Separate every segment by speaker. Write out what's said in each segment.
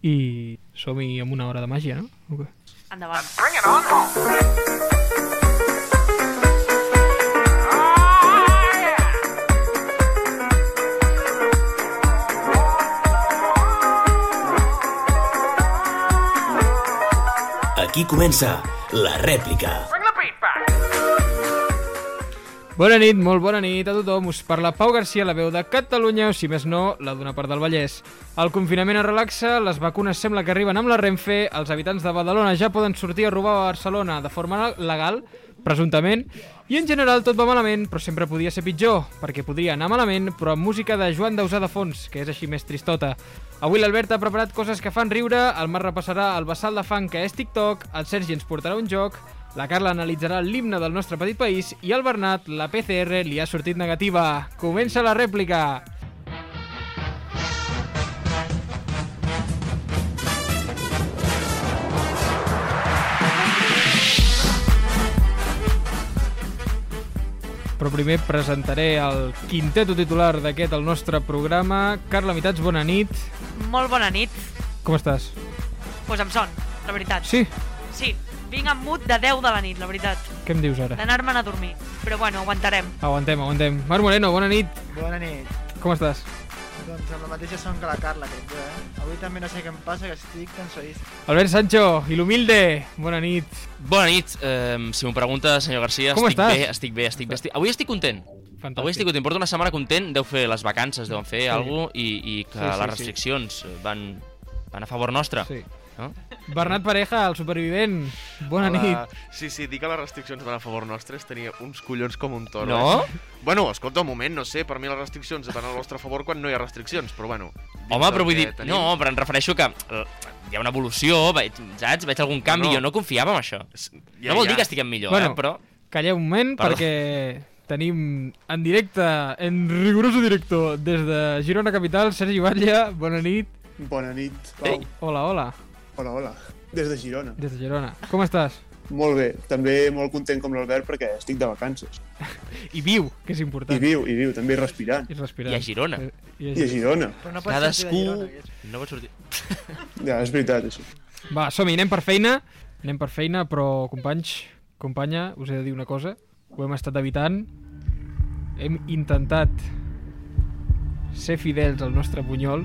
Speaker 1: I som-hi amb una hora de màgia, no? O què?
Speaker 2: Endavant.
Speaker 3: Bring it on home.
Speaker 4: Aquí comença la rèplica.
Speaker 3: Bring the beat back.
Speaker 1: Bona nit, molt bona nit a tothom. Us parla Pau Garcia, la veu de Catalunya, o si més no, la d'una part del Vallès. El confinament es relaxa, les vacunes sembla que arriben amb la Renfe, els habitants de Badalona ja poden sortir a robar a Barcelona de forma legal, presumptament, i en general tot va malament, però sempre podia ser pitjor, perquè podria anar malament, però amb música de Joan Dausà de fons, que és així més tristota. Avui l'Albert ha preparat coses que fan riure, el Marc repassarà el vessal de fang que és TikTok, el Sergi ens portarà un joc, la Carla analitzarà l'himne del nostre petit país i al Bernat la PCR li ha sortit negativa. Comença la rèplica! Però primer presentaré el quinteto titular d'aquest, el nostre programa. Carla Mitats, bona nit.
Speaker 2: Molt bona nit.
Speaker 1: Com estàs?
Speaker 2: Pues amb son, la veritat.
Speaker 1: Sí?
Speaker 2: Sí, vinc amb mood de 10 de la nit, la veritat.
Speaker 1: Què em dius ara?
Speaker 2: D'anar-me'n a dormir. Però bueno, aguantarem.
Speaker 1: Aguantem, aguantem. Marc Moreno, bona nit.
Speaker 5: Bona nit.
Speaker 1: Com estàs?
Speaker 5: Doncs amb la mateixa son que la Carla, crec jo, eh? Avui també no sé què em passa, que estic cansadís.
Speaker 1: Albert Sancho, i l'humilde, bona nit.
Speaker 6: Bona nit, um, si m'ho pregunta, senyor Garcia,
Speaker 1: Com
Speaker 6: estic
Speaker 1: estàs?
Speaker 6: bé, estic bé, estic bé. Estic... Avui estic content.
Speaker 1: Fantàstic.
Speaker 6: Avui estic content, porto una setmana content, deu fer les vacances, deuen fer
Speaker 1: Sí.
Speaker 6: sí. alguna cosa, i, i que
Speaker 1: Sí, sí,
Speaker 6: sí, sí, les
Speaker 1: sí.
Speaker 6: restriccions van, van a favor nostre.
Speaker 1: Sí.
Speaker 6: No?
Speaker 1: Bernat Pareja, el supervivent.
Speaker 6: Ah,
Speaker 1: Bona Hola. nit.
Speaker 7: Ah, Sí, sí, dir que les restriccions van a favor nostre és tenir uns collons com un toro.
Speaker 6: No?
Speaker 7: eh? Bueno, escolta, un moment, no sé, per mi les restriccions van al vostre favor quan no hi ha restriccions, però bueno. dins
Speaker 6: Home,
Speaker 7: del
Speaker 6: però vull
Speaker 7: que
Speaker 6: dir...
Speaker 7: tenim-
Speaker 6: No, però em refereixo que eh, hi ha una evolució, veig, saps? Veig algun canvi,
Speaker 7: No, no.
Speaker 6: no. jo no confiava en això.
Speaker 7: S-
Speaker 6: Ja, no vol ja. dir que estiguem millor,
Speaker 1: Bueno.
Speaker 6: bueno. eh? però...
Speaker 1: Calleu un moment
Speaker 6: Perdó.
Speaker 1: perquè tenim en directe, en rigoroso directo, des de Girona Capital, Sergi Batlle, bona nit.
Speaker 8: Bona nit, Pau.
Speaker 6: Ei.
Speaker 1: Hola, hola,
Speaker 8: Hola, hola. Des de Girona.
Speaker 1: des de Girona. Com estàs?
Speaker 8: Molt bé. També molt content com l'Albert perquè estic de vacances.
Speaker 1: I viu, que és important.
Speaker 8: I viu, i viu, també respirant.
Speaker 1: I respirant.
Speaker 6: I a Girona.
Speaker 1: I a
Speaker 8: I a
Speaker 1: Girona.
Speaker 8: Girona.
Speaker 5: Però no pots
Speaker 6: Cadascú...
Speaker 5: sortir de Girona, que és-
Speaker 6: No pot sortir...
Speaker 8: Ja, és veritat, això.
Speaker 1: Va, som-hi, anem per feina. Anem per feina, però, companys, companya, us he de dir una cosa. Ho hem estat evitant. Hem intentat ser fidels al nostre bunyol.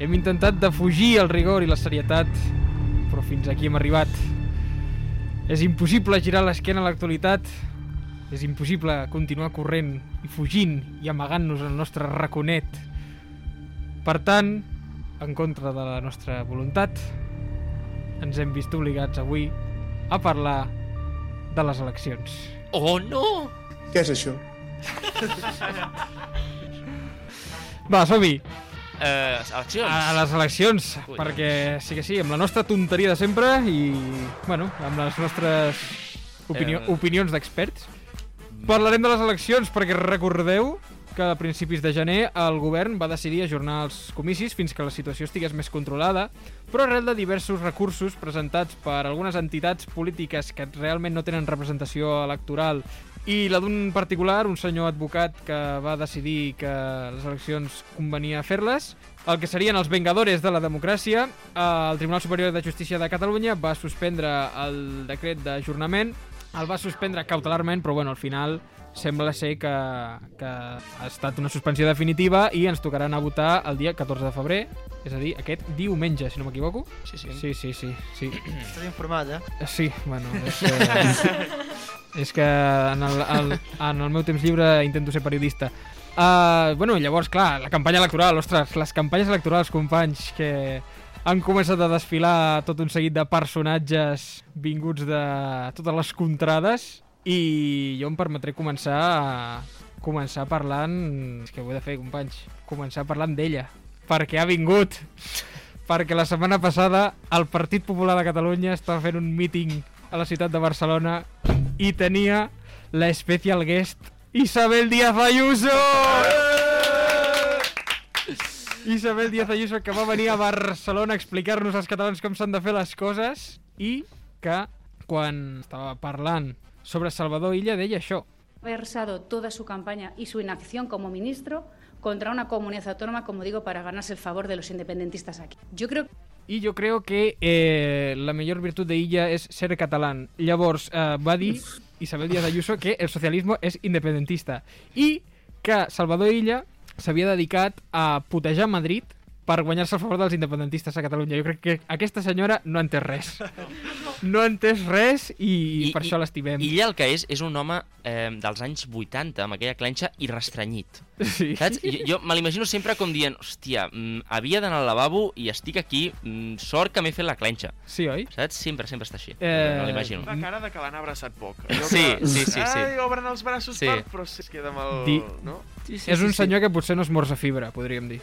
Speaker 1: Hem intentat defugir el rigor i la serietat, però fins aquí hem arribat. És impossible girar l'esquena a l'actualitat. És impossible continuar corrent i fugint i amagant-nos al nostre raconet. Per tant, en contra de la nostra voluntat, ens hem vist obligats avui a parlar de les eleccions.
Speaker 6: Oh, no!
Speaker 8: Què és això?
Speaker 1: Va, som-hi!
Speaker 6: Eh, eleccions.
Speaker 1: A les eleccions,
Speaker 6: Collons.
Speaker 1: perquè sí que sí, amb la nostra tonteria de sempre i, bueno, amb les nostres opinió,
Speaker 6: Eh.
Speaker 1: opinions d'experts. Parlarem de les eleccions perquè recordeu que a principis de gener el govern va decidir ajornar els comicis fins que la situació estigués més controlada, però arrel de diversos recursos presentats per algunes entitats polítiques que realment no tenen representació electoral i la d'un particular, un senyor advocat que va decidir que les eleccions convenia fer-les, el que serien els vengadores de la democràcia, eh, el Tribunal Superior de Justícia de Catalunya va suspendre el decret d'ajornament, el va suspendre cautelarment, però bueno, al final sembla ser que, que ha estat una suspensió definitiva i ens tocarà anar a votar el dia 14 de febrer, és a dir, aquest diumenge, si no m'equivoco.
Speaker 6: Sí, sí.
Speaker 1: Sí, sí, sí, sí.
Speaker 5: Estàs informat, eh?
Speaker 1: Sí, bueno, és que, és que en, el, el, en el meu temps lliure intento ser periodista. Uh, bueno, llavors, clar, la campanya electoral, ostres, les campanyes electorals, companys, que han començat a desfilar tot un seguit de personatges vinguts de totes les contrades i jo em permetré començar a començar parlant... És que ho he de fer, companys. Començar parlant d'ella, perquè ha vingut perquè la setmana passada el Partit Popular de Catalunya estava fent un míting a la ciutat de Barcelona i tenia la special guest Isabel Díaz Ayuso! Eh! Isabel Díaz Ayuso que va venir a Barcelona a explicar-nos als catalans com s'han de fer les coses i que quan estava parlant sobre Salvador Illa deia això
Speaker 9: Ha versado toda su campaña y su inacción como ministro
Speaker 3: contra una comunidad autónoma, como digo, para ganarse el favor de los independentistas aquí. Yo creo
Speaker 1: I jo creo que eh, la millor virtut d'Illa és ser català. Llavors, eh, va dir Isabel Díaz Ayuso que el socialisme és independentista i que Salvador Illa s'havia dedicat a putejar Madrid per guanyar-se el favor dels independentistes a Catalunya. Jo crec que aquesta senyora no ha entès res. No ha entès res i, I per això l'estimem.
Speaker 6: Illa el que és, és un home eh, dels anys 80, amb aquella clenxa, i restrenyit.
Speaker 1: Sí.
Speaker 6: Saps? Jo, jo me l'imagino sempre com dient, hòstia, mm, havia d'anar al lavabo i estic aquí, mm, sort que m'he fet la clenxa.
Speaker 1: Sí, oi?
Speaker 6: Saps? Sempre, sempre està així.
Speaker 1: Eh,
Speaker 6: Me l'imagino.
Speaker 7: Fa cara de que l'han abraçat poc. Allò
Speaker 6: Sí,
Speaker 7: que-
Speaker 6: sí, sí, sí.
Speaker 7: Ai, obren els braços
Speaker 6: Sí.
Speaker 7: sí. per, però es queda amb el...
Speaker 1: Di-
Speaker 7: No?
Speaker 6: Sí, sí,
Speaker 1: És un senyor que potser no esmorza fibra, podríem dir.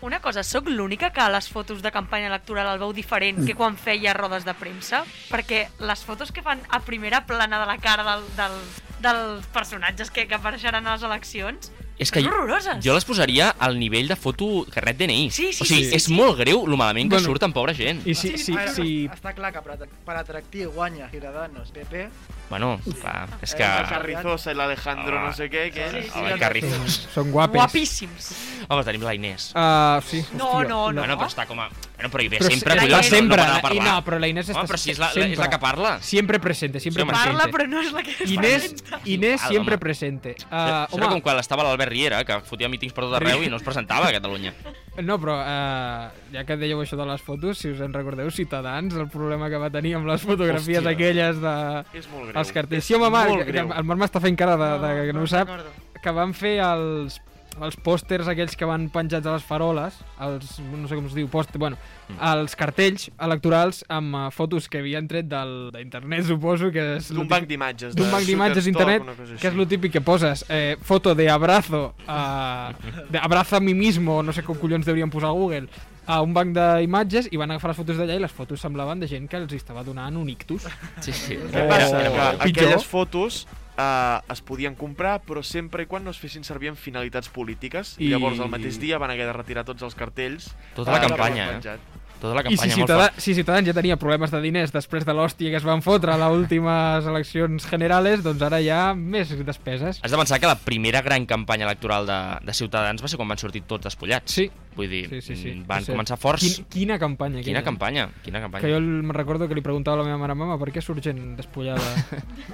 Speaker 2: Una cosa, sóc l'única que a les fotos de campanya electoral el veu diferent que quan feia rodes de premsa? Perquè les fotos que fan a primera plana de la cara del, del, dels personatges que, que apareixeran a les eleccions
Speaker 6: És que
Speaker 2: són
Speaker 6: jo,
Speaker 2: horroroses.
Speaker 6: jo les posaria al nivell de foto carnet DNI.
Speaker 2: Sí, sí,
Speaker 6: o sigui,
Speaker 2: sí, sí,
Speaker 6: és
Speaker 2: sí.
Speaker 6: molt greu lo malament que
Speaker 1: Bueno.
Speaker 6: bueno. surt amb pobra gent. I...
Speaker 1: I si, si,
Speaker 5: Doncs A veure,
Speaker 1: si
Speaker 5: Està clar que per, at- per atractiu guanya Ciudadanos, PP.
Speaker 6: Bueno, va, és que...
Speaker 7: La Carrizosa i l'Alejandro
Speaker 6: Ah.
Speaker 7: no sé què, què...
Speaker 6: Sí, Home, carrizos.
Speaker 1: són guapes...
Speaker 2: Guapíssims.
Speaker 6: Home, tenim la Inés.
Speaker 1: Uh, sí,
Speaker 2: No,
Speaker 1: hòstia,
Speaker 2: no, no.
Speaker 6: Bueno, però està com a... Bueno, però hi ve
Speaker 1: Però
Speaker 6: sempre,
Speaker 1: la
Speaker 6: collons, no,
Speaker 1: Inés sempre,
Speaker 6: no pot anar a
Speaker 1: i
Speaker 6: parlar.
Speaker 1: no, però la Inés està
Speaker 6: Home, però si és la, la, és la
Speaker 1: sempre.
Speaker 6: que parla.
Speaker 1: Siempre presente, siempre
Speaker 6: Sí, home,
Speaker 1: presente.
Speaker 2: Parla, però no és la que es
Speaker 1: Inés,
Speaker 2: presenta.
Speaker 1: Inés
Speaker 6: Igual,
Speaker 1: siempre
Speaker 6: home.
Speaker 1: presente.
Speaker 6: Uh,
Speaker 1: Uh,
Speaker 6: Serà
Speaker 1: home,
Speaker 6: com quan estava l'Albert Riera, que fotia mítings per tot arreu i no es presentava a Catalunya.
Speaker 1: no, però uh, ja que dèieu això de les fotos, si us en recordeu, Ciutadans, el problema que va tenir amb les fotografies
Speaker 6: Hòstia.
Speaker 1: aquelles de...
Speaker 7: És molt greu.
Speaker 1: Els cartells. Sí, home, Marc,
Speaker 7: molt
Speaker 1: que-
Speaker 7: greu.
Speaker 1: el Marc m'està fent cara de, de, que no, ho sap,
Speaker 5: recordo.
Speaker 1: que van fer els, els pòsters aquells que van penjats a les faroles, els, no sé com es diu, pòster, bueno,
Speaker 7: Mm.
Speaker 1: els cartells electorals amb eh, fotos que havien tret del- d'internet, suposo, que és...
Speaker 7: D'un
Speaker 1: lo
Speaker 7: banc
Speaker 1: típic-
Speaker 7: d'imatges.
Speaker 1: d'un
Speaker 7: de
Speaker 1: banc d'imatges
Speaker 7: Shutterstock,
Speaker 1: d'internet,
Speaker 7: una cosa
Speaker 1: que és
Speaker 7: així.
Speaker 1: lo típic que poses, eh, foto de abrazo, a, de abrazo a mi mismo, no sé com collons deurien posar a Google, a un banc d'imatges i van agafar les fotos d'allà i les fotos semblaven de gent que els hi estava donant un ictus.
Speaker 6: Sí, sí.
Speaker 7: Què
Speaker 1: Oh.
Speaker 7: passa?
Speaker 6: Eh,
Speaker 7: Que
Speaker 1: Pitjor.
Speaker 7: aquelles fotos eh, es podien comprar, però sempre i quan no es fessin servir amb finalitats polítiques.
Speaker 1: I-
Speaker 7: I... Llavors, el mateix dia van haver de retirar tots els cartells.
Speaker 6: Tota la
Speaker 7: Ah, que
Speaker 6: campanya,
Speaker 7: havien
Speaker 6: eh?
Speaker 7: penjat.
Speaker 6: Tota la
Speaker 1: I si,
Speaker 6: campanya molt
Speaker 1: Ciutadà, si Ciutadans ja tenia problemes de diners després de l'hòstia que es van fotre a les últimes eleccions generales, doncs ara hi ha més despeses.
Speaker 6: Has de pensar que la primera gran campanya electoral de, de Ciutadans va ser quan van sortir tots despullats.
Speaker 1: Sí.
Speaker 6: Vull dir,
Speaker 1: Sí, sí, sí.
Speaker 6: mm, van
Speaker 1: és cert.
Speaker 6: començar forts.
Speaker 1: Quin, quina campanya.
Speaker 6: Quina campanya, quina campanya.
Speaker 1: Que jo el- me recordo que li preguntava a la meva mare, mama, per què surt gent despullada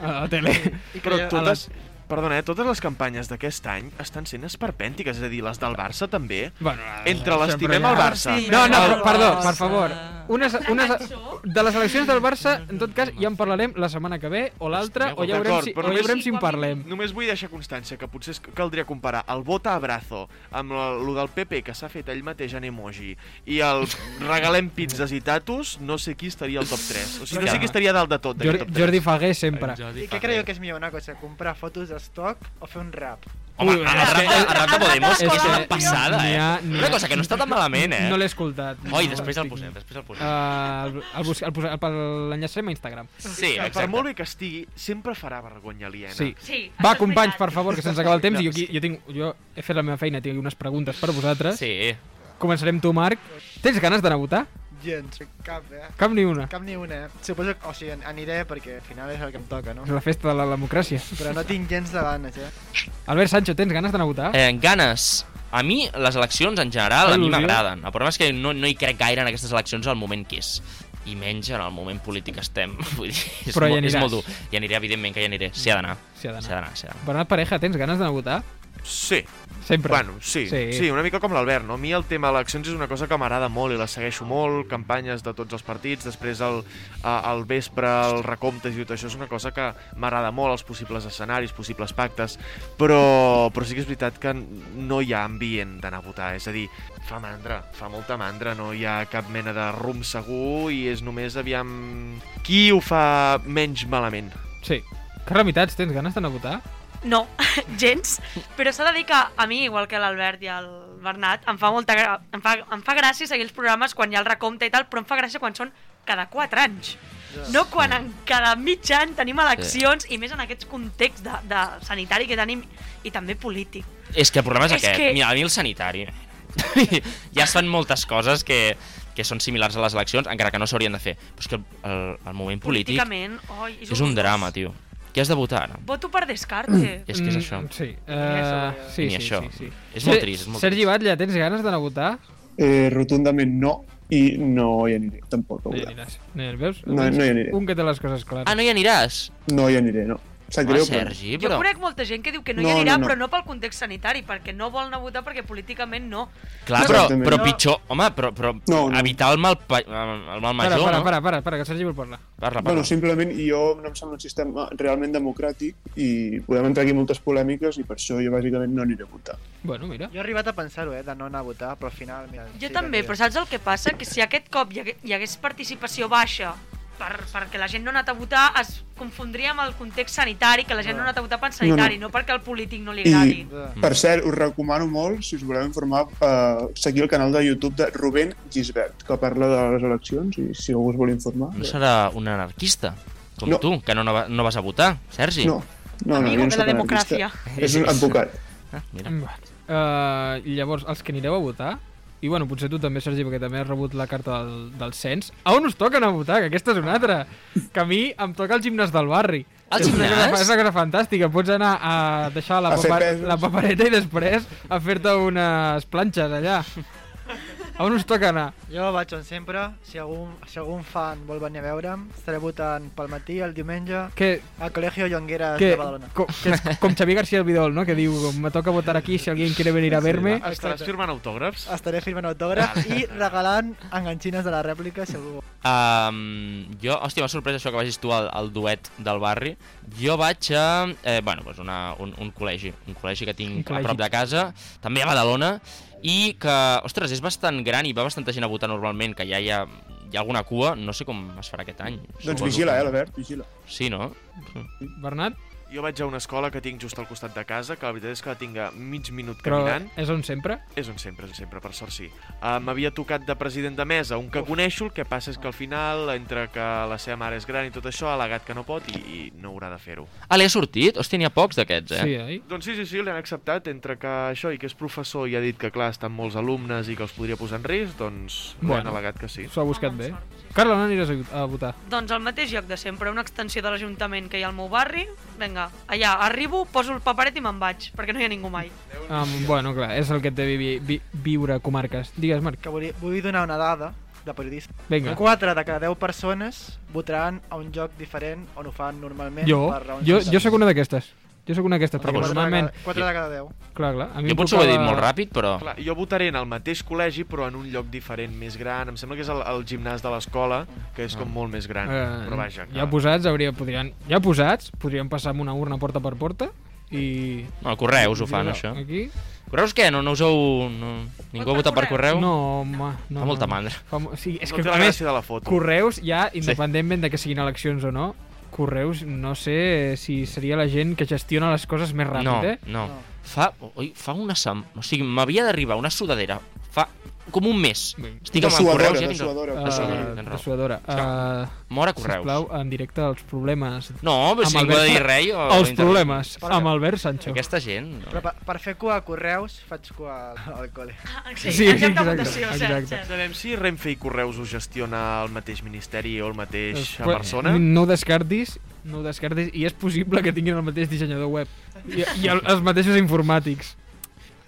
Speaker 1: a la tele?
Speaker 5: I que
Speaker 7: Però
Speaker 5: ja-
Speaker 7: totes... Perdona, eh? totes les campanyes d'aquest any estan sent esperpèntiques, és a dir, les del Barça també.
Speaker 1: bueno,
Speaker 7: Entre
Speaker 1: sempre
Speaker 7: l'estimem
Speaker 1: hi ha-
Speaker 7: al Barça.
Speaker 1: No, no, però,
Speaker 5: El
Speaker 1: perdó,
Speaker 5: Barça.
Speaker 1: per favor. Unes, unes,
Speaker 2: cançó?
Speaker 1: de les eleccions del Barça, en tot cas, ja en parlarem la setmana que ve, o l'altra, o ja veurem
Speaker 7: D'acord,
Speaker 1: si,
Speaker 7: però
Speaker 1: o ja
Speaker 7: només-
Speaker 1: veurem si en parlem.
Speaker 7: Només vull deixar constància que potser es- caldria comparar el vota abrazo amb el, lo del PP que s'ha fet ell mateix en emoji i el regalem pizzas i tatus, no sé qui estaria al top 3. O sigui, no sé qui estaria dalt de tot d'aquest
Speaker 1: Jordi,
Speaker 7: top 3.
Speaker 1: Jordi Fagué sempre.
Speaker 5: I què creieu que és millor una cosa, comprar fotos d'estoc o fer un rap?
Speaker 6: Home,
Speaker 1: Ui,
Speaker 6: el rap, de, el rap de Podemos
Speaker 1: és
Speaker 6: és,
Speaker 1: que
Speaker 6: una passada,
Speaker 1: n'hi
Speaker 6: eh?
Speaker 1: ha- n'hi ha-
Speaker 6: Una cosa que no està tan malament, eh?
Speaker 1: No l'he escoltat. No,
Speaker 6: Oi, després el
Speaker 1: estic-
Speaker 6: posem, després el posem.
Speaker 1: Eh, el, el, bus- el, posa- el, el- l'enllacem a Instagram.
Speaker 6: sí,
Speaker 7: que per
Speaker 6: exacte.
Speaker 7: molt bé que estigui, sempre farà vergonya aliena.
Speaker 1: Sí.
Speaker 2: Sí, això
Speaker 1: Va,
Speaker 2: és
Speaker 1: companys,
Speaker 2: veritat.
Speaker 1: per favor, que se'ns acaba el temps. Jo, aquí, jo, tinc, jo he fet la meva feina, tinc unes preguntes per vosaltres.
Speaker 6: Sí.
Speaker 1: Començarem tu, Marc. Tens ganes d'anar a votar?
Speaker 5: Gens, cap, eh?
Speaker 1: Cap ni una.
Speaker 5: Cap ni una, eh? Suposo que, o sigui, aniré perquè al final és el que em toca, no?
Speaker 1: És la festa de la democràcia.
Speaker 5: Però no tinc gens de ganes, eh?
Speaker 1: Albert Sancho, tens ganes d'anar a votar?
Speaker 6: Eh, ganes. A mi, les eleccions en general, a mi
Speaker 1: Il·lusió.
Speaker 6: m'agraden. El problema és que no, no hi crec gaire en aquestes eleccions al moment que és. I menys en el moment polític que estem. Vull dir, és,
Speaker 1: Però hi
Speaker 6: molt, és
Speaker 1: aniràs.
Speaker 6: molt dur. Hi aniré, evidentment que hi aniré. S'hi ha d'anar.
Speaker 1: S'hi ha d'anar.
Speaker 6: S'hi ha d'anar, s'hi ha d'anar.
Speaker 1: Bernat Pareja, tens ganes d'anar a votar?
Speaker 7: Sí.
Speaker 1: Sempre.
Speaker 7: Bueno, sí.
Speaker 1: Sí.
Speaker 7: sí. Sí, una mica com l'Albert, no? A mi el tema eleccions és una cosa que m'agrada molt i la segueixo molt, campanyes de tots els partits, després el, el vespre, el recompte i tot això és una cosa que m'agrada molt, els possibles escenaris, possibles pactes, però, però sí que és veritat que no hi ha ambient d'anar a votar, és a dir, fa mandra, fa molta mandra, no hi ha cap mena de rum segur i és només aviam qui ho fa menys malament.
Speaker 1: Sí. Carla Mitats, tens ganes d'anar a votar?
Speaker 2: No, gens. Però s'ha de dir que a mi, igual que l'Albert i el Bernat, em fa, molta gra... em, fa, em fa gràcia seguir els programes quan hi ha el recompte i tal, però em fa gràcia quan són cada 4 anys. No quan en cada mig any tenim eleccions i més en aquests context de, de sanitari que tenim i també polític.
Speaker 6: És que el problema és,
Speaker 2: És
Speaker 6: aquest.
Speaker 2: que-
Speaker 6: Que... Mira, a mi el sanitari... ja es fan moltes coses que, que són similars a les eleccions, encara que no s'haurien de fer. Però és que el, el moment polític
Speaker 2: Políticament, oi,
Speaker 6: és un
Speaker 2: horrorós.
Speaker 6: drama, tio. Qui has de votar ara?
Speaker 2: Voto per eh? descarte.
Speaker 6: És que és
Speaker 1: Mm,
Speaker 6: això.
Speaker 1: Sí.
Speaker 5: això,
Speaker 1: Uh, sí, sí,
Speaker 6: Ni això.
Speaker 1: sí, sí.
Speaker 6: És molt
Speaker 1: Ser-
Speaker 6: trist, és molt
Speaker 1: Sergi
Speaker 6: trist.
Speaker 1: Batlle, tens ganes d'anar a votar?
Speaker 8: Eh, rotundament no, i no hi aniré, tampoc. a
Speaker 1: No hi
Speaker 8: votar.
Speaker 1: aniràs. No hi aniràs. veus?
Speaker 8: No, no hi aniré.
Speaker 1: Un que té les coses clares.
Speaker 6: Ah, no hi aniràs?
Speaker 8: No hi aniré, no. Em Sap
Speaker 6: Home,
Speaker 8: greu, però...
Speaker 6: Sergi,
Speaker 2: Jo
Speaker 6: però...
Speaker 2: conec molta gent que diu que no, hi
Speaker 8: No,
Speaker 2: anirà,
Speaker 8: no, no.
Speaker 2: però no pel context sanitari, perquè no vol anar a votar perquè políticament no.
Speaker 6: Clar, però,
Speaker 8: Exactament.
Speaker 6: però
Speaker 8: No.
Speaker 6: pitjor... Home, però, però
Speaker 8: No, no.
Speaker 6: evitar el mal, pa... el mal
Speaker 1: Para,
Speaker 6: major,
Speaker 1: para,
Speaker 6: no?
Speaker 1: para, para, para, que el Sergi vol parlar.
Speaker 6: Parla, parla.
Speaker 8: Bueno, simplement jo no em sembla un sistema realment democràtic i podem entrar aquí en moltes polèmiques i per això jo bàsicament no aniré a votar.
Speaker 1: Bueno, mira.
Speaker 5: Jo he arribat a pensar-ho, eh, de no anar a votar, però al final... Mira,
Speaker 2: Jo
Speaker 5: sí que
Speaker 2: també,
Speaker 5: tira.
Speaker 2: però saps el que passa? Que si aquest cop hi hagués, hi hagués participació baixa per, perquè la gent no ha anat a votar, es confondria amb el context sanitari, que la gent no,
Speaker 5: No.
Speaker 2: ha anat a votar pel sanitari, no, perquè al polític no li
Speaker 8: I-
Speaker 2: agradi.
Speaker 5: Ja.
Speaker 6: Mm.
Speaker 8: Per cert, us recomano molt, si us voleu informar, eh, seguir el canal de YouTube de Rubén Gisbert, que parla de les eleccions i si algú us vol informar...
Speaker 6: No serà un anarquista, com
Speaker 8: No.
Speaker 6: tu, que no, no, va- no vas a votar, Sergi.
Speaker 8: No, no, no,
Speaker 2: Amigo
Speaker 8: jo
Speaker 2: de
Speaker 8: no soc
Speaker 2: la
Speaker 8: anarquista.
Speaker 2: democràcia.
Speaker 8: És un advocat.
Speaker 6: Ah, mira.
Speaker 1: Uh, llavors, els que anireu a votar, i bueno, potser tu també, Sergi, perquè també has rebut la carta del, del cens, a on us toca anar a votar? Que aquesta és una altra. Que a mi em toca el gimnàs del barri.
Speaker 6: Al
Speaker 1: És una cosa-
Speaker 6: gimnàs?
Speaker 1: És una cosa fantàstica. Pots anar a deixar la,
Speaker 8: A fer
Speaker 1: paper,
Speaker 8: pesos.
Speaker 1: la papereta i després a fer-te unes planxes allà. A on us toca anar?
Speaker 5: Jo vaig on sempre, si algun, si algun fan vol venir a veure'm, estaré votant pel matí, el diumenge,
Speaker 1: Que,
Speaker 5: al Col·legio Llongueras
Speaker 1: que,
Speaker 5: de Badalona.
Speaker 1: com, que és com Xavier García el Vidol, no? Que diu, me toca votar aquí si alguien quiere venir a verme.
Speaker 7: Estaràs firmant autògrafs?
Speaker 5: Estaré firmant autògrafs i regalant enganxines de la rèplica si algú vol.
Speaker 6: Um, jo, hòstia, m'ha sorprès això que vagis tu al, al duet del barri. Jo vaig a... Eh, bueno, doncs una, un, un col·legi, un col·legi que tinc
Speaker 1: Un col·legi.
Speaker 6: a prop de casa, també a Badalona, i que, ostres, és bastant gran i va bastanta gent a votar normalment, que ja hi ha, hi ha alguna cua, no sé com es farà aquest any.
Speaker 8: Doncs
Speaker 6: Suposo
Speaker 8: vigila,
Speaker 6: que-
Speaker 8: eh, Albert, vigila.
Speaker 6: Sí, no?
Speaker 1: Bernat,
Speaker 7: Jo vaig a una escola que tinc just al costat de casa, que la veritat és que la tinc a mig minut
Speaker 1: però
Speaker 7: caminant.
Speaker 1: és on sempre?
Speaker 7: És on sempre, és on sempre, per sort sí. Uh, M'havia tocat de president de mesa un que coneixo, el que passa és que al final, entre que la seva mare és gran i tot això, ha al·legat que no pot i, i no haurà de fer-ho.
Speaker 6: Ah, l'he sortit? Hòstia, n'hi ha pocs d'aquests, eh?
Speaker 1: Sí, oi?
Speaker 7: Doncs sí, sí, sí, l'han acceptat, entre que això i que és professor i ha dit que, clar, estan molts alumnes i que els podria posar en risc, doncs bueno.
Speaker 1: Bueno.
Speaker 7: han al·legat que sí.
Speaker 1: S'ho ha buscat bé. Carla, on aniràs a- a votar?
Speaker 2: Doncs al mateix lloc de sempre, una extensió de l'Ajuntament que hi ha al meu barri. Vinga, allà, arribo, poso el paperet i me'n vaig, perquè no hi ha ningú mai.
Speaker 1: Um, bueno, clar, és el que et té vivi, vi, viure a comarques. Digues, Marc.
Speaker 5: Que vull, vull donar una dada de periodista.
Speaker 1: Vinga.
Speaker 5: 4 de cada 10 persones votaran a un lloc diferent on ho fan normalment
Speaker 1: Jo,
Speaker 5: per raons
Speaker 1: jo, jo sóc una d'aquestes. Jo sóc una d'aquestes, perquè
Speaker 6: vols-
Speaker 5: 4
Speaker 1: normalment...
Speaker 5: de cada 10.
Speaker 1: Clar, clar, a mi
Speaker 6: Jo
Speaker 1: em
Speaker 6: potser ho he dit
Speaker 1: tocava-
Speaker 6: molt ràpid,
Speaker 1: Ah.
Speaker 6: però...
Speaker 7: Clar, jo votaré en el mateix col·legi, però en un lloc diferent, més gran. Em sembla que és el, el gimnàs de l'escola, que és com molt més gran.
Speaker 1: Eh,
Speaker 7: però vaja,
Speaker 1: ja
Speaker 7: que...
Speaker 1: posats, hauria, podrien, ja posats, podríem passar amb una urna porta per porta i...
Speaker 6: No, correus ho fan, això.
Speaker 1: Aquí?
Speaker 6: Correus què? No, no us heu... No... Ningú ha
Speaker 2: Vot per
Speaker 6: votat per correu?
Speaker 1: No, home, no.
Speaker 6: Fa molta
Speaker 1: no.
Speaker 6: mandra.
Speaker 1: Fa, mo- sí, és
Speaker 7: no
Speaker 1: que,
Speaker 7: té
Speaker 1: a
Speaker 7: la
Speaker 1: més,
Speaker 7: gràcia de la foto.
Speaker 1: Correus, ja, independentment de que siguin eleccions o no, Correus, no sé si seria la gent que gestiona les coses més ràpid,
Speaker 6: No,
Speaker 1: eh?
Speaker 6: no. Fa, oi, fa una setmana... O sigui, m'havia d'arribar una sudadera fa com un mes.
Speaker 1: Vinga.
Speaker 6: Estic
Speaker 8: De
Speaker 6: amb el
Speaker 8: suadora,
Speaker 6: correu.
Speaker 8: de
Speaker 6: Ja tinc... el-
Speaker 8: suadora.
Speaker 1: Uh,
Speaker 8: de suadora.
Speaker 6: tens
Speaker 1: de
Speaker 6: raó.
Speaker 1: suadora. Uh,
Speaker 6: Mora correus.
Speaker 1: Sisplau, en directe els problemes.
Speaker 6: No, però
Speaker 1: Amb
Speaker 6: si ningú ha de
Speaker 1: Albert-
Speaker 6: dir res... Jo...
Speaker 1: els
Speaker 6: intervinc.
Speaker 1: problemes amb Albert Sancho.
Speaker 6: Aquesta gent... No.
Speaker 5: Però per, per fer cua a Correus faig cua al, al col·le.
Speaker 1: Sí,
Speaker 2: Sí, Ah, sí exacte,
Speaker 1: exacte,
Speaker 2: votació,
Speaker 1: exacte.
Speaker 2: exacte. Cert, cert.
Speaker 7: Sabem si Renfe i Correus ho gestiona el mateix ministeri o el mateix
Speaker 1: Però
Speaker 7: persona?
Speaker 1: No ho descartis, no ho descartis, i és possible que tinguin el mateix dissenyador web i, i el, els mateixos informàtics.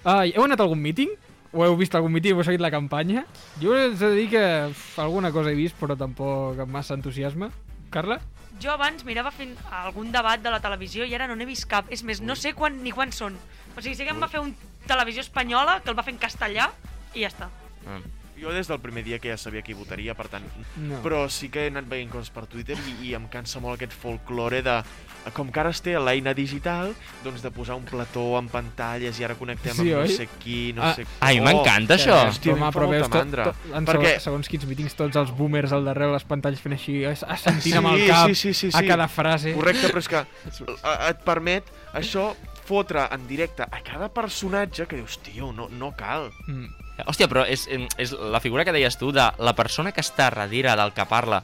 Speaker 1: Ah, heu anat a algun míting? Ho heu vist algun míting? Heu seguit la campanya? Jo us he de dir que uf, alguna cosa he vist, però tampoc amb massa entusiasme. Carla?
Speaker 2: Jo abans mirava fins a algun debat de la televisió i ara no n'he vist cap. És més, no sé quan ni quan són. O sigui, sí que em va fer un televisió espanyola que el va fer en castellà i ja està.
Speaker 6: Ah.
Speaker 7: Jo des del primer dia que ja sabia qui votaria, per tant...
Speaker 1: No.
Speaker 7: Però sí que he anat veient coses per Twitter i, i em cansa molt aquest folklore de... Com que ara es té l'eina digital, doncs de posar un plató amb pantalles i ara connectem
Speaker 1: Sí,
Speaker 7: amb
Speaker 1: oi?
Speaker 7: no sé qui, no
Speaker 1: Ah,
Speaker 7: sé... qui.
Speaker 8: Oh.
Speaker 6: Ai, m'encanta això.
Speaker 7: Hòstia, a mi em fa molta
Speaker 1: tot-
Speaker 7: mandra.
Speaker 1: tot- en
Speaker 7: Perquè-
Speaker 1: segons, segons quins mítings tots els boomers al darrere les pantalles fent així, a- a sentint amb el
Speaker 7: Sí,
Speaker 1: cap
Speaker 7: sí, sí, sí,
Speaker 1: a
Speaker 7: sí.
Speaker 1: cada frase.
Speaker 7: Correcte, però és que eh, et permet això fotre en directe a cada personatge que dius, tio, no, no cal.
Speaker 1: Mm.
Speaker 6: Hòstia, però és, és la figura que deies tu de la persona que està darrere del que parla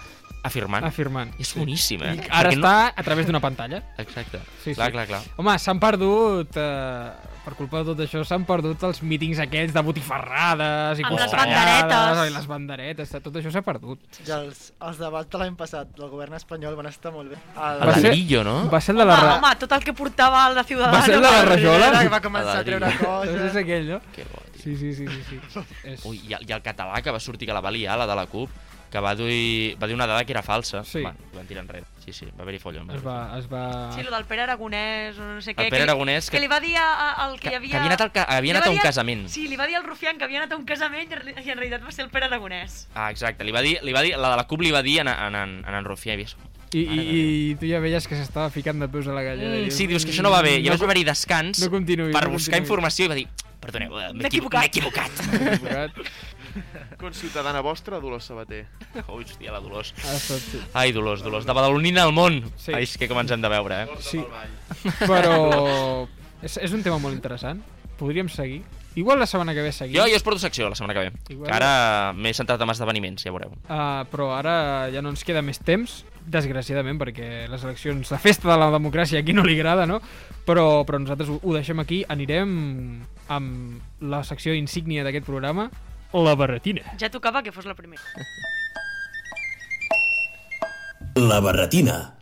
Speaker 6: afirmant.
Speaker 1: afirmant.
Speaker 6: És boníssim, eh?
Speaker 1: Ara
Speaker 6: Perquè
Speaker 1: està a través d'una pantalla.
Speaker 6: No... Exacte.
Speaker 1: Sí, sí.
Speaker 6: Sí, clar, sí. clar, clar.
Speaker 1: Home, s'han perdut... Eh, per culpa de tot això, s'han perdut els mítings aquells de botifarrades i
Speaker 2: Amb les
Speaker 1: costellades,
Speaker 2: banderetes.
Speaker 1: I les banderetes, tot això s'ha perdut.
Speaker 5: Ja els, els debats de l'any passat del govern espanyol van estar molt bé. El,
Speaker 6: El
Speaker 1: Va ser-
Speaker 6: ladrillo, no?
Speaker 1: Va ser el de la...
Speaker 2: home,
Speaker 1: ra-
Speaker 2: Ah, home, tot el que portava el de Ciudadanos...
Speaker 1: Va ser el de la rajola?
Speaker 5: Rivera, que va començar a treure
Speaker 1: Doncs és
Speaker 5: coses.
Speaker 1: aquell, no?
Speaker 6: Que bo, tio.
Speaker 1: Sí, sí, sí, sí. sí. És...
Speaker 6: Ui, i el, i el català que va sortir, que la va liar, la de la CUP, que va dir, va dir una dada que era falsa.
Speaker 1: Sí.
Speaker 6: Bueno, van tirar enrere. Sí, sí, va haver-hi follon.
Speaker 1: Es va... Es va...
Speaker 2: Sí, lo del Pere Aragonès, o no sé què.
Speaker 6: El Pere
Speaker 2: que li-
Speaker 6: Aragonès
Speaker 2: Que,
Speaker 6: que-
Speaker 2: li va dir a- al que,
Speaker 6: que-
Speaker 2: hi havia...
Speaker 6: que havia anat al ca- havia
Speaker 2: li
Speaker 6: anat
Speaker 2: va
Speaker 6: a un
Speaker 2: dir
Speaker 6: casament.
Speaker 2: Sí, li va dir al Rufián que havia anat a un casament i en re- i en realitat va ser el Pere Aragonès.
Speaker 6: Ah, exacte. Li va dir, li va dir, la de la CUP li va dir en, en, en, en, en Rufià. I,
Speaker 1: I, i, I tu ja veies que s'estava ficant de peus a la gallera.
Speaker 6: mm,
Speaker 1: Dius,
Speaker 6: sí, dius que això no va bé.
Speaker 1: "Mm,
Speaker 6: I llavors va haver-hi descans
Speaker 1: no continuïs,
Speaker 6: per
Speaker 1: no
Speaker 6: buscar
Speaker 1: continuïs."
Speaker 6: informació i va dir perdoneu, eh, m'he
Speaker 2: M'he
Speaker 6: equivo-
Speaker 2: equivocat."
Speaker 6: m'he equivocat.
Speaker 1: equivocat.
Speaker 7: Conciutadana vostra, Dolors Sabater.
Speaker 6: oh, hòstia, la Dolors.
Speaker 1: Ha estat, sí.
Speaker 6: Ai, Dolors, Dolors, de Badalonina al món.
Speaker 1: Sí.
Speaker 6: Sí. Ai, és que com ens hem de veure, eh?
Speaker 1: Sí. Però és, és un tema molt interessant. Podríem seguir. Igual la setmana que ve seguim.
Speaker 6: Jo, jo us porto secció la setmana que ve.
Speaker 1: Igual.
Speaker 6: Que ara m'he centrat en esdeveniments, ja veureu.
Speaker 1: Uh, però ara ja no ens queda més temps, desgraciadament, perquè les eleccions, la festa de la democràcia aquí no li agrada, no? Però, però nosaltres ho, ho deixem aquí. Anirem amb la secció insígnia d'aquest programa, la barretina.
Speaker 2: Ja tocava que fos la primera.
Speaker 4: La barretina.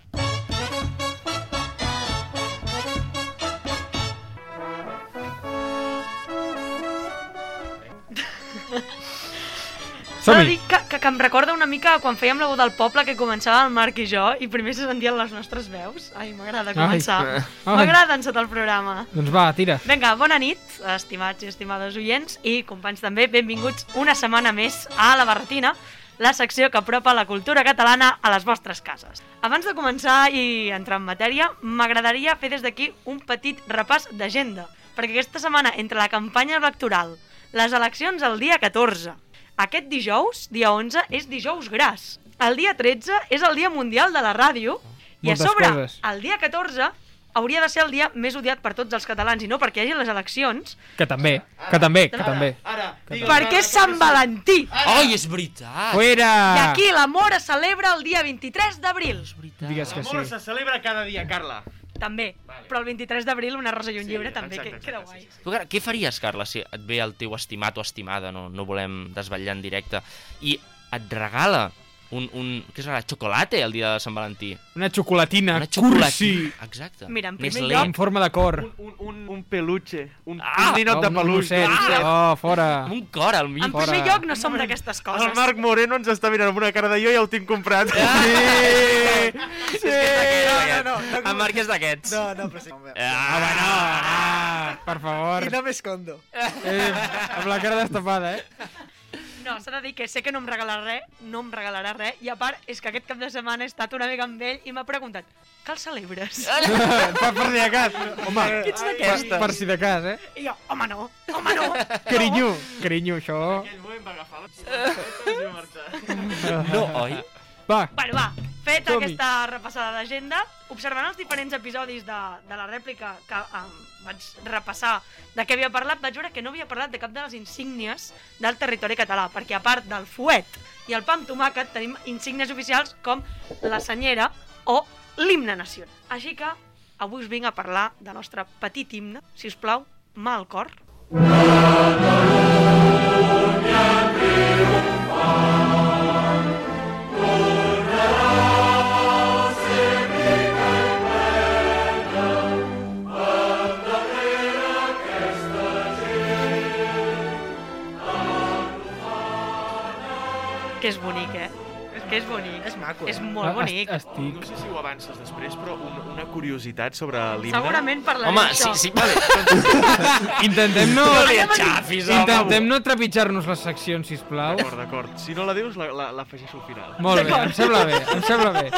Speaker 2: S'ha de
Speaker 1: Som-hi!
Speaker 2: dir que, que, que em recorda una mica quan fèiem la veu del poble que començava el Marc i jo i primer se sentien les nostres veus. Ai, m'agrada començar.
Speaker 1: Ai. Ai.
Speaker 2: M'agrada encetar el programa.
Speaker 1: Doncs va, tira.
Speaker 2: Vinga, bona nit, estimats i estimades oients i companys també, benvinguts una setmana més a La Barretina, la secció que apropa la cultura catalana a les vostres cases. Abans de començar i entrar en matèria, m'agradaria fer des d'aquí un petit repàs d'agenda, perquè aquesta setmana, entre la campanya electoral, les eleccions el dia 14, aquest dijous, dia 11, és dijous gras. El dia 13 és el dia mundial de la ràdio, i a
Speaker 1: Moltes
Speaker 2: sobre,
Speaker 1: coses.
Speaker 2: el dia 14 hauria de ser el dia més odiat per tots els catalans i no perquè hi hagi les eleccions,
Speaker 1: Que també, que també, que també.
Speaker 7: Ara,
Speaker 2: perquè és Sant Valentí.
Speaker 6: Ai, és veritat!
Speaker 1: Fuera!
Speaker 2: I aquí l'amor es celebra el dia 23 d'abril.
Speaker 1: Digues que sí.
Speaker 7: celebra cada dia, Carla.
Speaker 2: També. Però el 23 d'abril una rosa i un
Speaker 7: Sí,
Speaker 2: llibre també,
Speaker 7: exacte,
Speaker 2: que
Speaker 7: exacte,
Speaker 2: queda
Speaker 7: sí,
Speaker 2: guai.
Speaker 7: sí,
Speaker 6: Tu, Car- què faries, Carla, si et ve el teu estimat o estimada, no, no volem desvetllar en directe, i et regala un, un què serà, xocolate el dia de Sant Valentí?
Speaker 1: Una xocolatina,
Speaker 6: Una
Speaker 1: cursi,
Speaker 6: xocolatina. Exacte.
Speaker 2: Mira, en primer
Speaker 6: Nestlé.
Speaker 2: lloc-
Speaker 1: en forma de cor.
Speaker 7: Un, un, un, un peluche, un,
Speaker 6: Ah,
Speaker 7: un ninot de
Speaker 1: Un
Speaker 7: peluix.
Speaker 1: gosset.
Speaker 7: Ah,
Speaker 1: Oh, fora.
Speaker 6: Amb un cor al mig.
Speaker 2: En
Speaker 1: Fora.
Speaker 2: primer lloc no som d'aquestes
Speaker 7: el
Speaker 2: coses.
Speaker 7: Marc Moreno ens està mirant amb una cara de jo ja ho tinc comprat.
Speaker 6: Sí! sí!
Speaker 5: No, no, no, no.
Speaker 6: En Marc és d'aquests.
Speaker 5: No, no, però sí.
Speaker 6: Ah, bueno.
Speaker 1: Ah, per favor.
Speaker 5: I no m'escondo.
Speaker 1: Eh, amb la cara destapada, eh?
Speaker 2: No, s'ha de dir que sé que no em regalarà res, no em regalarà res, i a part és que aquest cap de setmana he estat una mica amb ell i m'ha preguntat que el celebres?
Speaker 7: Eh.
Speaker 1: per, per si de cas. Home,
Speaker 2: Ets
Speaker 1: per,
Speaker 2: d'aquesta.
Speaker 1: per si de cas, eh?
Speaker 2: I jo, home no, home no.
Speaker 1: Carinyo, carinyo, això...
Speaker 6: No, oi?
Speaker 1: Va,
Speaker 2: Bueno, va, fet
Speaker 1: Som-hi.
Speaker 2: aquesta repassada d'agenda, observant els diferents episodis de, de la rèplica que um, vaig repassar de què havia parlat, vaig veure que no havia parlat de cap de les insígnies del territori català, perquè a part del fuet i el pa amb tomàquet tenim insígnies oficials com la senyera o l'himne nacional. Així que avui us vinc a parlar del nostre petit himne, si us plau, mà al cor. Que és bonic, eh? Que és bonic.
Speaker 5: És maco, eh?
Speaker 2: És
Speaker 1: Ah,
Speaker 2: molt
Speaker 1: est-
Speaker 2: bonic.
Speaker 1: Estic...
Speaker 7: No sé si ho avances després, però un, una curiositat sobre l'himne.
Speaker 2: Segurament parlarem
Speaker 6: Home, sí,
Speaker 2: d'això.
Speaker 6: sí, vale. doncs
Speaker 1: Intentem no...
Speaker 6: No li aixafis, home.
Speaker 1: Intentem no trepitjar-nos les seccions, sisplau.
Speaker 7: D'acord, d'acord. Si no la dius, la- la- l'afegeixo la, al final.
Speaker 1: Molt bé, em sembla bé, em sembla bé.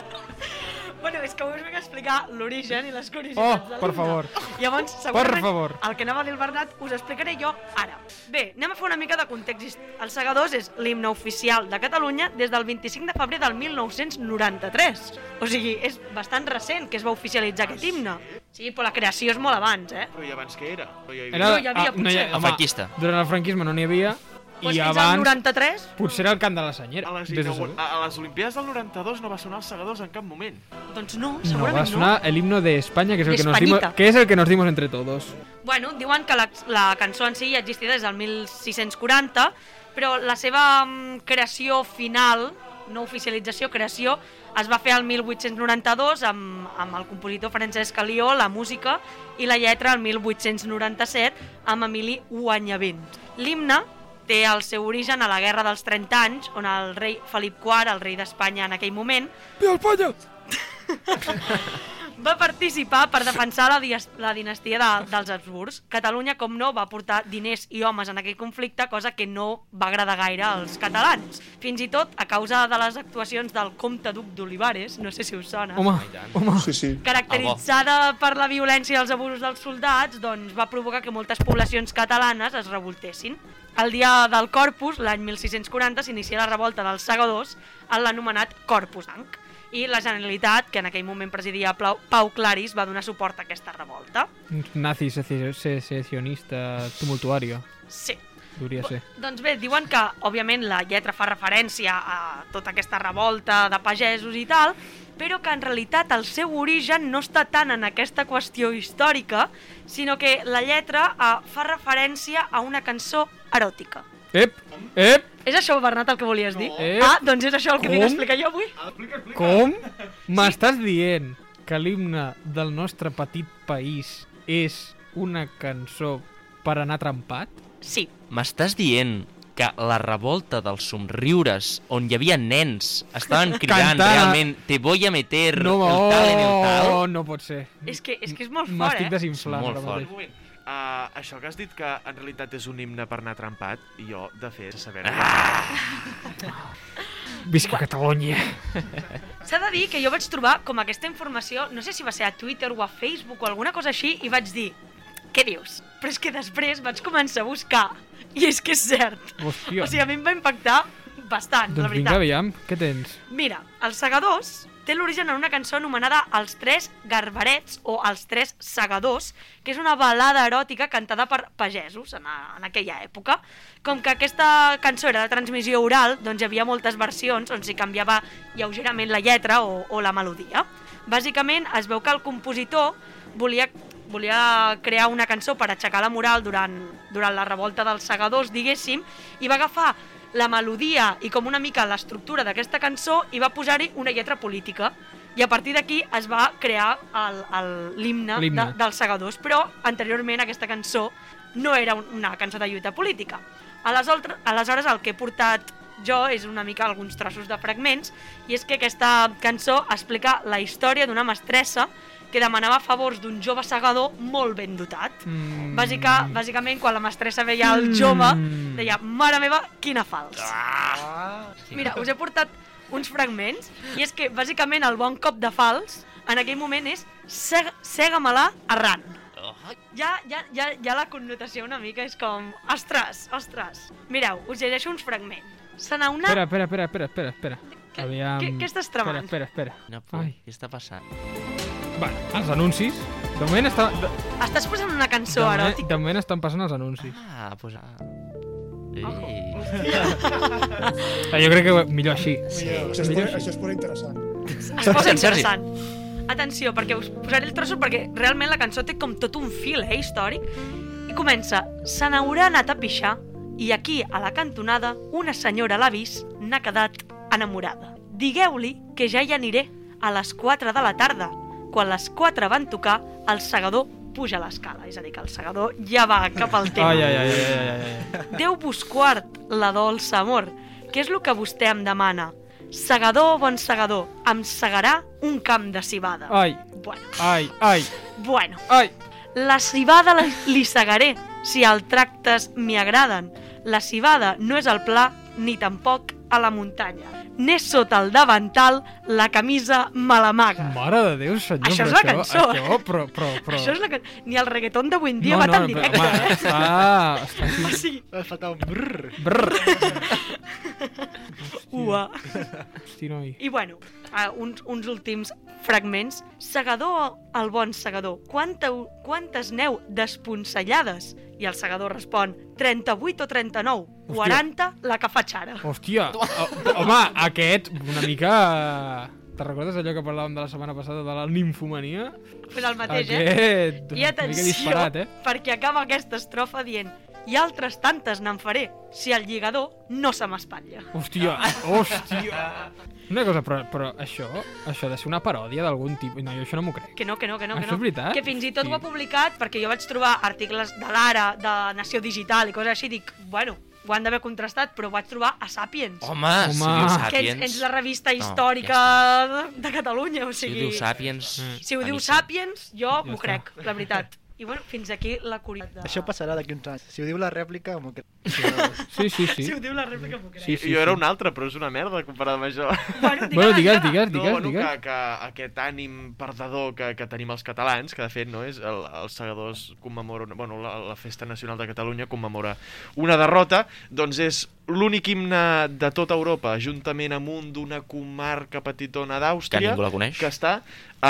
Speaker 2: Bueno, és que us vinc a explicar l'origen i les
Speaker 1: Oh,
Speaker 2: curiositats de
Speaker 1: per
Speaker 2: l'himne.
Speaker 1: favor.
Speaker 2: Llavors, segurament,
Speaker 1: favor.
Speaker 2: el que anava a dir el Bernat us explicaré jo ara. Bé, anem a fer una mica de context. hist- Els Segadors és l'himne oficial de Catalunya des del 25 de febrer del 1993. O sigui, és bastant recent que es va oficialitzar aquest himne. Sí, però la creació és molt abans, eh?
Speaker 7: Però i abans què era? No hi havia...
Speaker 1: Era,
Speaker 2: No hi havia,
Speaker 1: ah, no hi ha-
Speaker 2: potser.
Speaker 1: home,
Speaker 6: El franquista.
Speaker 1: Durant el franquisme no n'hi havia,
Speaker 2: Pues
Speaker 1: I
Speaker 2: Doncs fins
Speaker 1: abans-
Speaker 2: al 93?
Speaker 1: Potser era el cant de la senyera.
Speaker 7: A les,
Speaker 1: vés a
Speaker 7: inaugu-
Speaker 2: Ah,
Speaker 1: saber.
Speaker 7: a, a les Olimpiades del 92 no va sonar els segadors en cap moment.
Speaker 2: Doncs no,
Speaker 1: No, va
Speaker 2: segurament no.
Speaker 1: sonar el himno de España, que es el
Speaker 2: De
Speaker 1: que, nos dimos,
Speaker 2: Españita.
Speaker 1: que es el que nos dimos entre todos.
Speaker 2: Bueno, diuen que la, la cançó en si ja existia des del 1640, però la seva mm, creació final, no oficialització, creació, es va fer al 1892 amb, amb el compositor Francesc Alió, la música i la lletra al 1897 amb Emili Guanyavent. L'himne té el seu origen a la Guerra dels 30 anys, on el rei Felip IV, el rei d'Espanya en aquell moment,
Speaker 1: Viva España!
Speaker 2: va participar per defensar la, dies- la dinastia de, dels Habsburgs. Catalunya, com no, va portar diners i homes en aquell conflicte, cosa que no va agradar gaire als catalans. Fins i tot a causa de les actuacions del comte duc d'Olivares, no sé si us sona,
Speaker 1: Home,
Speaker 6: i tant.
Speaker 1: home.
Speaker 8: Sí, sí.
Speaker 2: caracteritzada per la violència i els abusos dels soldats, doncs va provocar que moltes poblacions catalanes es revoltessin. El dia del Corpus, l'any 1640, s'inicia la revolta dels segadors en l'anomenat Corpus Anc. I la Generalitat, que en aquell moment presidia Pau, Pau Claris, va donar suport a aquesta revolta.
Speaker 1: Nazi, secio- se- secesionista, tumultuario.
Speaker 2: Sí.
Speaker 1: Podria ser.
Speaker 2: Doncs bé, diuen que, òbviament, la lletra fa referència a tota aquesta revolta de pagesos i tal, però que en realitat el seu origen no està tant en aquesta qüestió històrica, sinó que la lletra eh, fa referència a una cançó eròtica.
Speaker 1: Ep, ep,
Speaker 2: És això, Bernat, el que volies dir?
Speaker 1: Eh?
Speaker 2: Ah, doncs és això el que
Speaker 1: Com?
Speaker 2: vinc a explicar jo avui.
Speaker 1: com? M'estàs dient que l'himne del nostre petit país és una cançó per anar trempat?
Speaker 2: Sí,
Speaker 6: M'estàs dient que la revolta dels somriures, on hi havia nens, estaven cridant
Speaker 1: Cantant.
Speaker 6: realment te voy a meter
Speaker 1: No,
Speaker 6: el tal en el tal?
Speaker 1: oh, no pot ser.
Speaker 2: és que és, que és molt fort,
Speaker 1: M'estic
Speaker 2: eh?
Speaker 1: desinflant.
Speaker 6: Molt
Speaker 1: ara
Speaker 6: fort.
Speaker 1: mateix.
Speaker 7: Un moment. Uh, això que has dit que en realitat és un himne per anar trempat, jo, de fet, saber...
Speaker 6: Ah!
Speaker 1: Visca Catalunya.
Speaker 2: S'ha de dir que jo vaig trobar com aquesta informació, no sé si va ser a Twitter o a Facebook o alguna cosa així, i vaig dir, què dius? Però és que després vaig començar a buscar, i és que és cert.
Speaker 1: Hòstia.
Speaker 2: O sigui, a mi em va impactar bastant, la
Speaker 1: doncs vinga,
Speaker 2: veritat.
Speaker 1: aviam, què tens?
Speaker 2: Mira, els segadors té l'origen en una cançó anomenada Els Tres Garbarets o Els Tres Segadors, que és una balada eròtica cantada per pagesos en, a, en aquella època. Com que aquesta cançó era de transmissió oral, doncs hi havia moltes versions on s'hi canviava lleugerament la lletra o, o la melodia. Bàsicament, es veu que el compositor volia volia crear una cançó per aixecar la moral durant, durant la revolta dels segadors, diguéssim, i va agafar la melodia i com una mica l'estructura d'aquesta cançó i va posar-hi una lletra política. I a partir d'aquí es va crear el- el- l'himne de,
Speaker 1: L'himne.
Speaker 2: dels segadors, però anteriorment aquesta cançó no era un- una cançó de lluita política. Aleshores, aleshores el que he portat jo és una mica alguns trossos de fragments i és que aquesta cançó explica la història d'una mestressa que demanava favors d'un jove segador molt ben dotat.
Speaker 1: Mm.
Speaker 2: Bàsica, bàsicament, quan la mestressa veia el jove,
Speaker 1: Mm.
Speaker 2: deia, mare meva, quina fals.
Speaker 5: Ah,
Speaker 2: Mira, us he portat uns fragments i és que, bàsicament, el bon cop de fals en aquell moment és "Seg- sega-me-la arran. Ja, ja, ja, ja la connotació una mica és com, ostres, ostres. Mireu, us llegeixo uns fragments. Se n'auna...
Speaker 1: Espera, espera, espera, espera, espera, espera.
Speaker 2: Què- què- què estàs tramant?
Speaker 1: Espera, espera, espera.
Speaker 6: No, però,
Speaker 1: Ai.
Speaker 6: què està passant?
Speaker 1: Vale, els anuncis. De moment, està, de,
Speaker 2: Estàs posant una
Speaker 1: de,
Speaker 2: cançó
Speaker 1: moment,
Speaker 2: eròtica.
Speaker 1: de moment estan passant els anuncis.
Speaker 6: Ah, pues... Ah.
Speaker 2: Ojo.
Speaker 6: Ei.
Speaker 1: Ah, jo crec que ho- millor així.
Speaker 8: Això és, molt- això és molt interessant.
Speaker 2: Es posa
Speaker 6: En Sergi.
Speaker 2: interessant. Atenció, perquè us posaré el trosso perquè realment la cançó té com tot un fil eh, històric. I comença, se n'haurà anat a pixar i aquí, a la cantonada, una senyora l'ha vist, n'ha quedat enamorada. Digueu-li que ja hi aniré a les 4 de la tarda. Quan les 4 van tocar, el segador puja l'escala. És a dir, que el segador ja va cap al tema.
Speaker 1: Ai, ai, ai, ai, ai, ai, ai.
Speaker 2: Déu-vos guard la dolça amor, que és el que vostè em demana. Segador, bon segador, em segarà un camp de cibada.
Speaker 1: Ai,
Speaker 2: Bueno,
Speaker 1: ai, ai,
Speaker 2: bueno.
Speaker 1: ai.
Speaker 2: La cibada la, li segaré, si el tractes m'hi agraden. La cibada no és al pla ni tampoc a la muntanya. N'és sota el davantal, la camisa me l'amaga.
Speaker 1: Mare de Déu, senyor.
Speaker 2: Això
Speaker 1: però
Speaker 2: és la cançó, eh?
Speaker 1: Això, però, però, però...
Speaker 2: Això és la que... Ni el reggaeton d'avui en dia va tan directe,
Speaker 1: però, home,
Speaker 2: eh?
Speaker 1: està... està així.
Speaker 2: O sigui,
Speaker 5: ha faltat un brrr.
Speaker 1: Brrr.
Speaker 2: ua.
Speaker 1: Hosti, noi.
Speaker 2: I bueno, uh, uns, uns últims fragments. Segador, el bon segador, quanta, quantes neu desponsellades I el segador respon 38 o 39, 40 la que faig ara.
Speaker 1: Hòstia, ho- home, aquest una mica... Te'n recordes allò que parlàvem de la setmana passada de la ninfomania?
Speaker 2: Fes el mateix, eh?
Speaker 1: Aquest,
Speaker 2: I
Speaker 1: una mica
Speaker 2: atenció,
Speaker 1: disparat, eh?
Speaker 2: perquè acaba aquesta estrofa dient i altres tantes n'en faré, si el lligador no se m'espatlla.
Speaker 1: Hòstia, hòstia. Una cosa, però, però això, això ha de ser una paròdia d'algun tipus. No, jo això no m'ho crec.
Speaker 2: Que no, que no, que no.
Speaker 1: Ah, Això
Speaker 2: que no.
Speaker 1: és veritat?
Speaker 2: Que fins i tot
Speaker 1: Sí.
Speaker 2: ho ha publicat perquè jo vaig trobar articles de l'Ara, de Nació Digital i coses així, i dic, bueno, ho han d'haver contrastat, però ho vaig trobar a Sapiens.
Speaker 6: Home,
Speaker 1: Home.
Speaker 6: si diu
Speaker 2: que ens,
Speaker 6: Sapiens...
Speaker 2: ens la revista
Speaker 6: No, ja
Speaker 2: històrica de, de Catalunya, o
Speaker 6: Si ho
Speaker 2: sigui...
Speaker 6: diu Sapiens... eh.
Speaker 1: Mm.
Speaker 2: si ho
Speaker 6: a
Speaker 2: diu
Speaker 6: mi sí.
Speaker 2: Sapiens, jo m'ho
Speaker 1: està.
Speaker 2: crec, la veritat. I bueno, fins aquí la curiositat. De...
Speaker 5: Això passarà d'aquí uns anys. Si ho diu la rèplica, m'ho crec. Si
Speaker 1: Sí, sí, sí.
Speaker 2: Si ho diu la rèplica, m'ho crec.
Speaker 1: sí, sí
Speaker 7: jo era
Speaker 1: sí.
Speaker 7: un altre, però és una merda comparada amb això.
Speaker 2: Bueno,
Speaker 1: Bueno, digues,
Speaker 2: digue-la.
Speaker 1: digues,
Speaker 7: no,
Speaker 1: digues,
Speaker 7: bueno,
Speaker 1: digues.
Speaker 7: que, que aquest ànim perdedor que, que tenim els catalans, que de fet no és el, els segadors commemora, una- bueno, la, la Festa Nacional de Catalunya commemora una derrota, doncs és l'únic himne de tota Europa, juntament amb un d'una comarca petitona
Speaker 6: Que
Speaker 7: d'Àustria,
Speaker 6: ningú la coneix.
Speaker 7: que està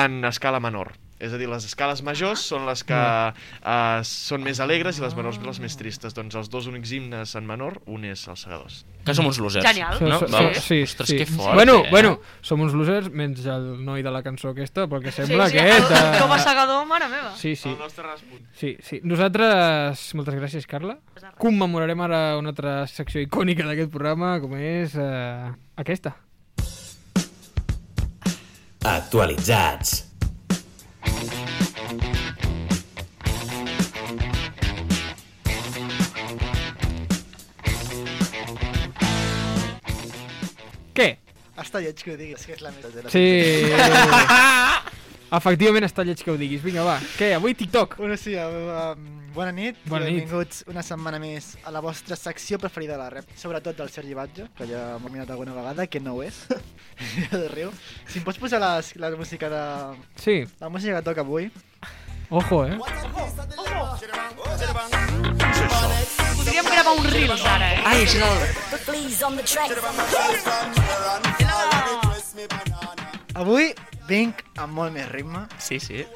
Speaker 7: en escala menor. És a dir, les escales majors són les que uh, són més alegres i les menors les més tristes. Doncs els dos únics himnes en menor, un és els segadors.
Speaker 6: Que som uns losers.
Speaker 2: Genial.
Speaker 1: So-
Speaker 6: No?
Speaker 1: so-
Speaker 6: Val.
Speaker 1: so- sí,
Speaker 6: Ostres,
Speaker 1: sí.
Speaker 6: que fort,
Speaker 1: bueno,
Speaker 6: eh?
Speaker 1: bueno, som uns losers, menys el noi de la cançó aquesta, perquè sembla
Speaker 2: sí, sí,
Speaker 1: aquest...
Speaker 2: El, el jove
Speaker 1: eh,
Speaker 2: segador, mare meva.
Speaker 1: Sí, sí.
Speaker 7: El nostre Rasputin.
Speaker 1: Sí, sí. Nosaltres, moltes gràcies, Carla. Commemorarem ara una altra secció icònica d'aquest programa, com és eh, aquesta.
Speaker 4: Actualitzats.
Speaker 1: Què?
Speaker 5: Està lleig que ho diguis, que és la meva. de la
Speaker 1: Sí. Efectivament està lleig que ho diguis. Vinga, va. Què? Avui TikTok.
Speaker 5: Bueno, sí, uh, bona nit
Speaker 1: Bona
Speaker 5: i
Speaker 1: nit.
Speaker 5: benvinguts una setmana més a la vostra secció preferida de la rep, sobretot del Sergi Batge, que ja m'ho he mirat alguna vegada, que no ho és, ja de riu. Si em pots posar les, la música de...
Speaker 1: Sí.
Speaker 5: la música que toca avui,
Speaker 1: Ojo, eh?
Speaker 2: Podríem gravar un Reels ara, eh?
Speaker 6: Ai, és el...
Speaker 5: avui vinc amb molt més ritme,
Speaker 6: Sí, sí.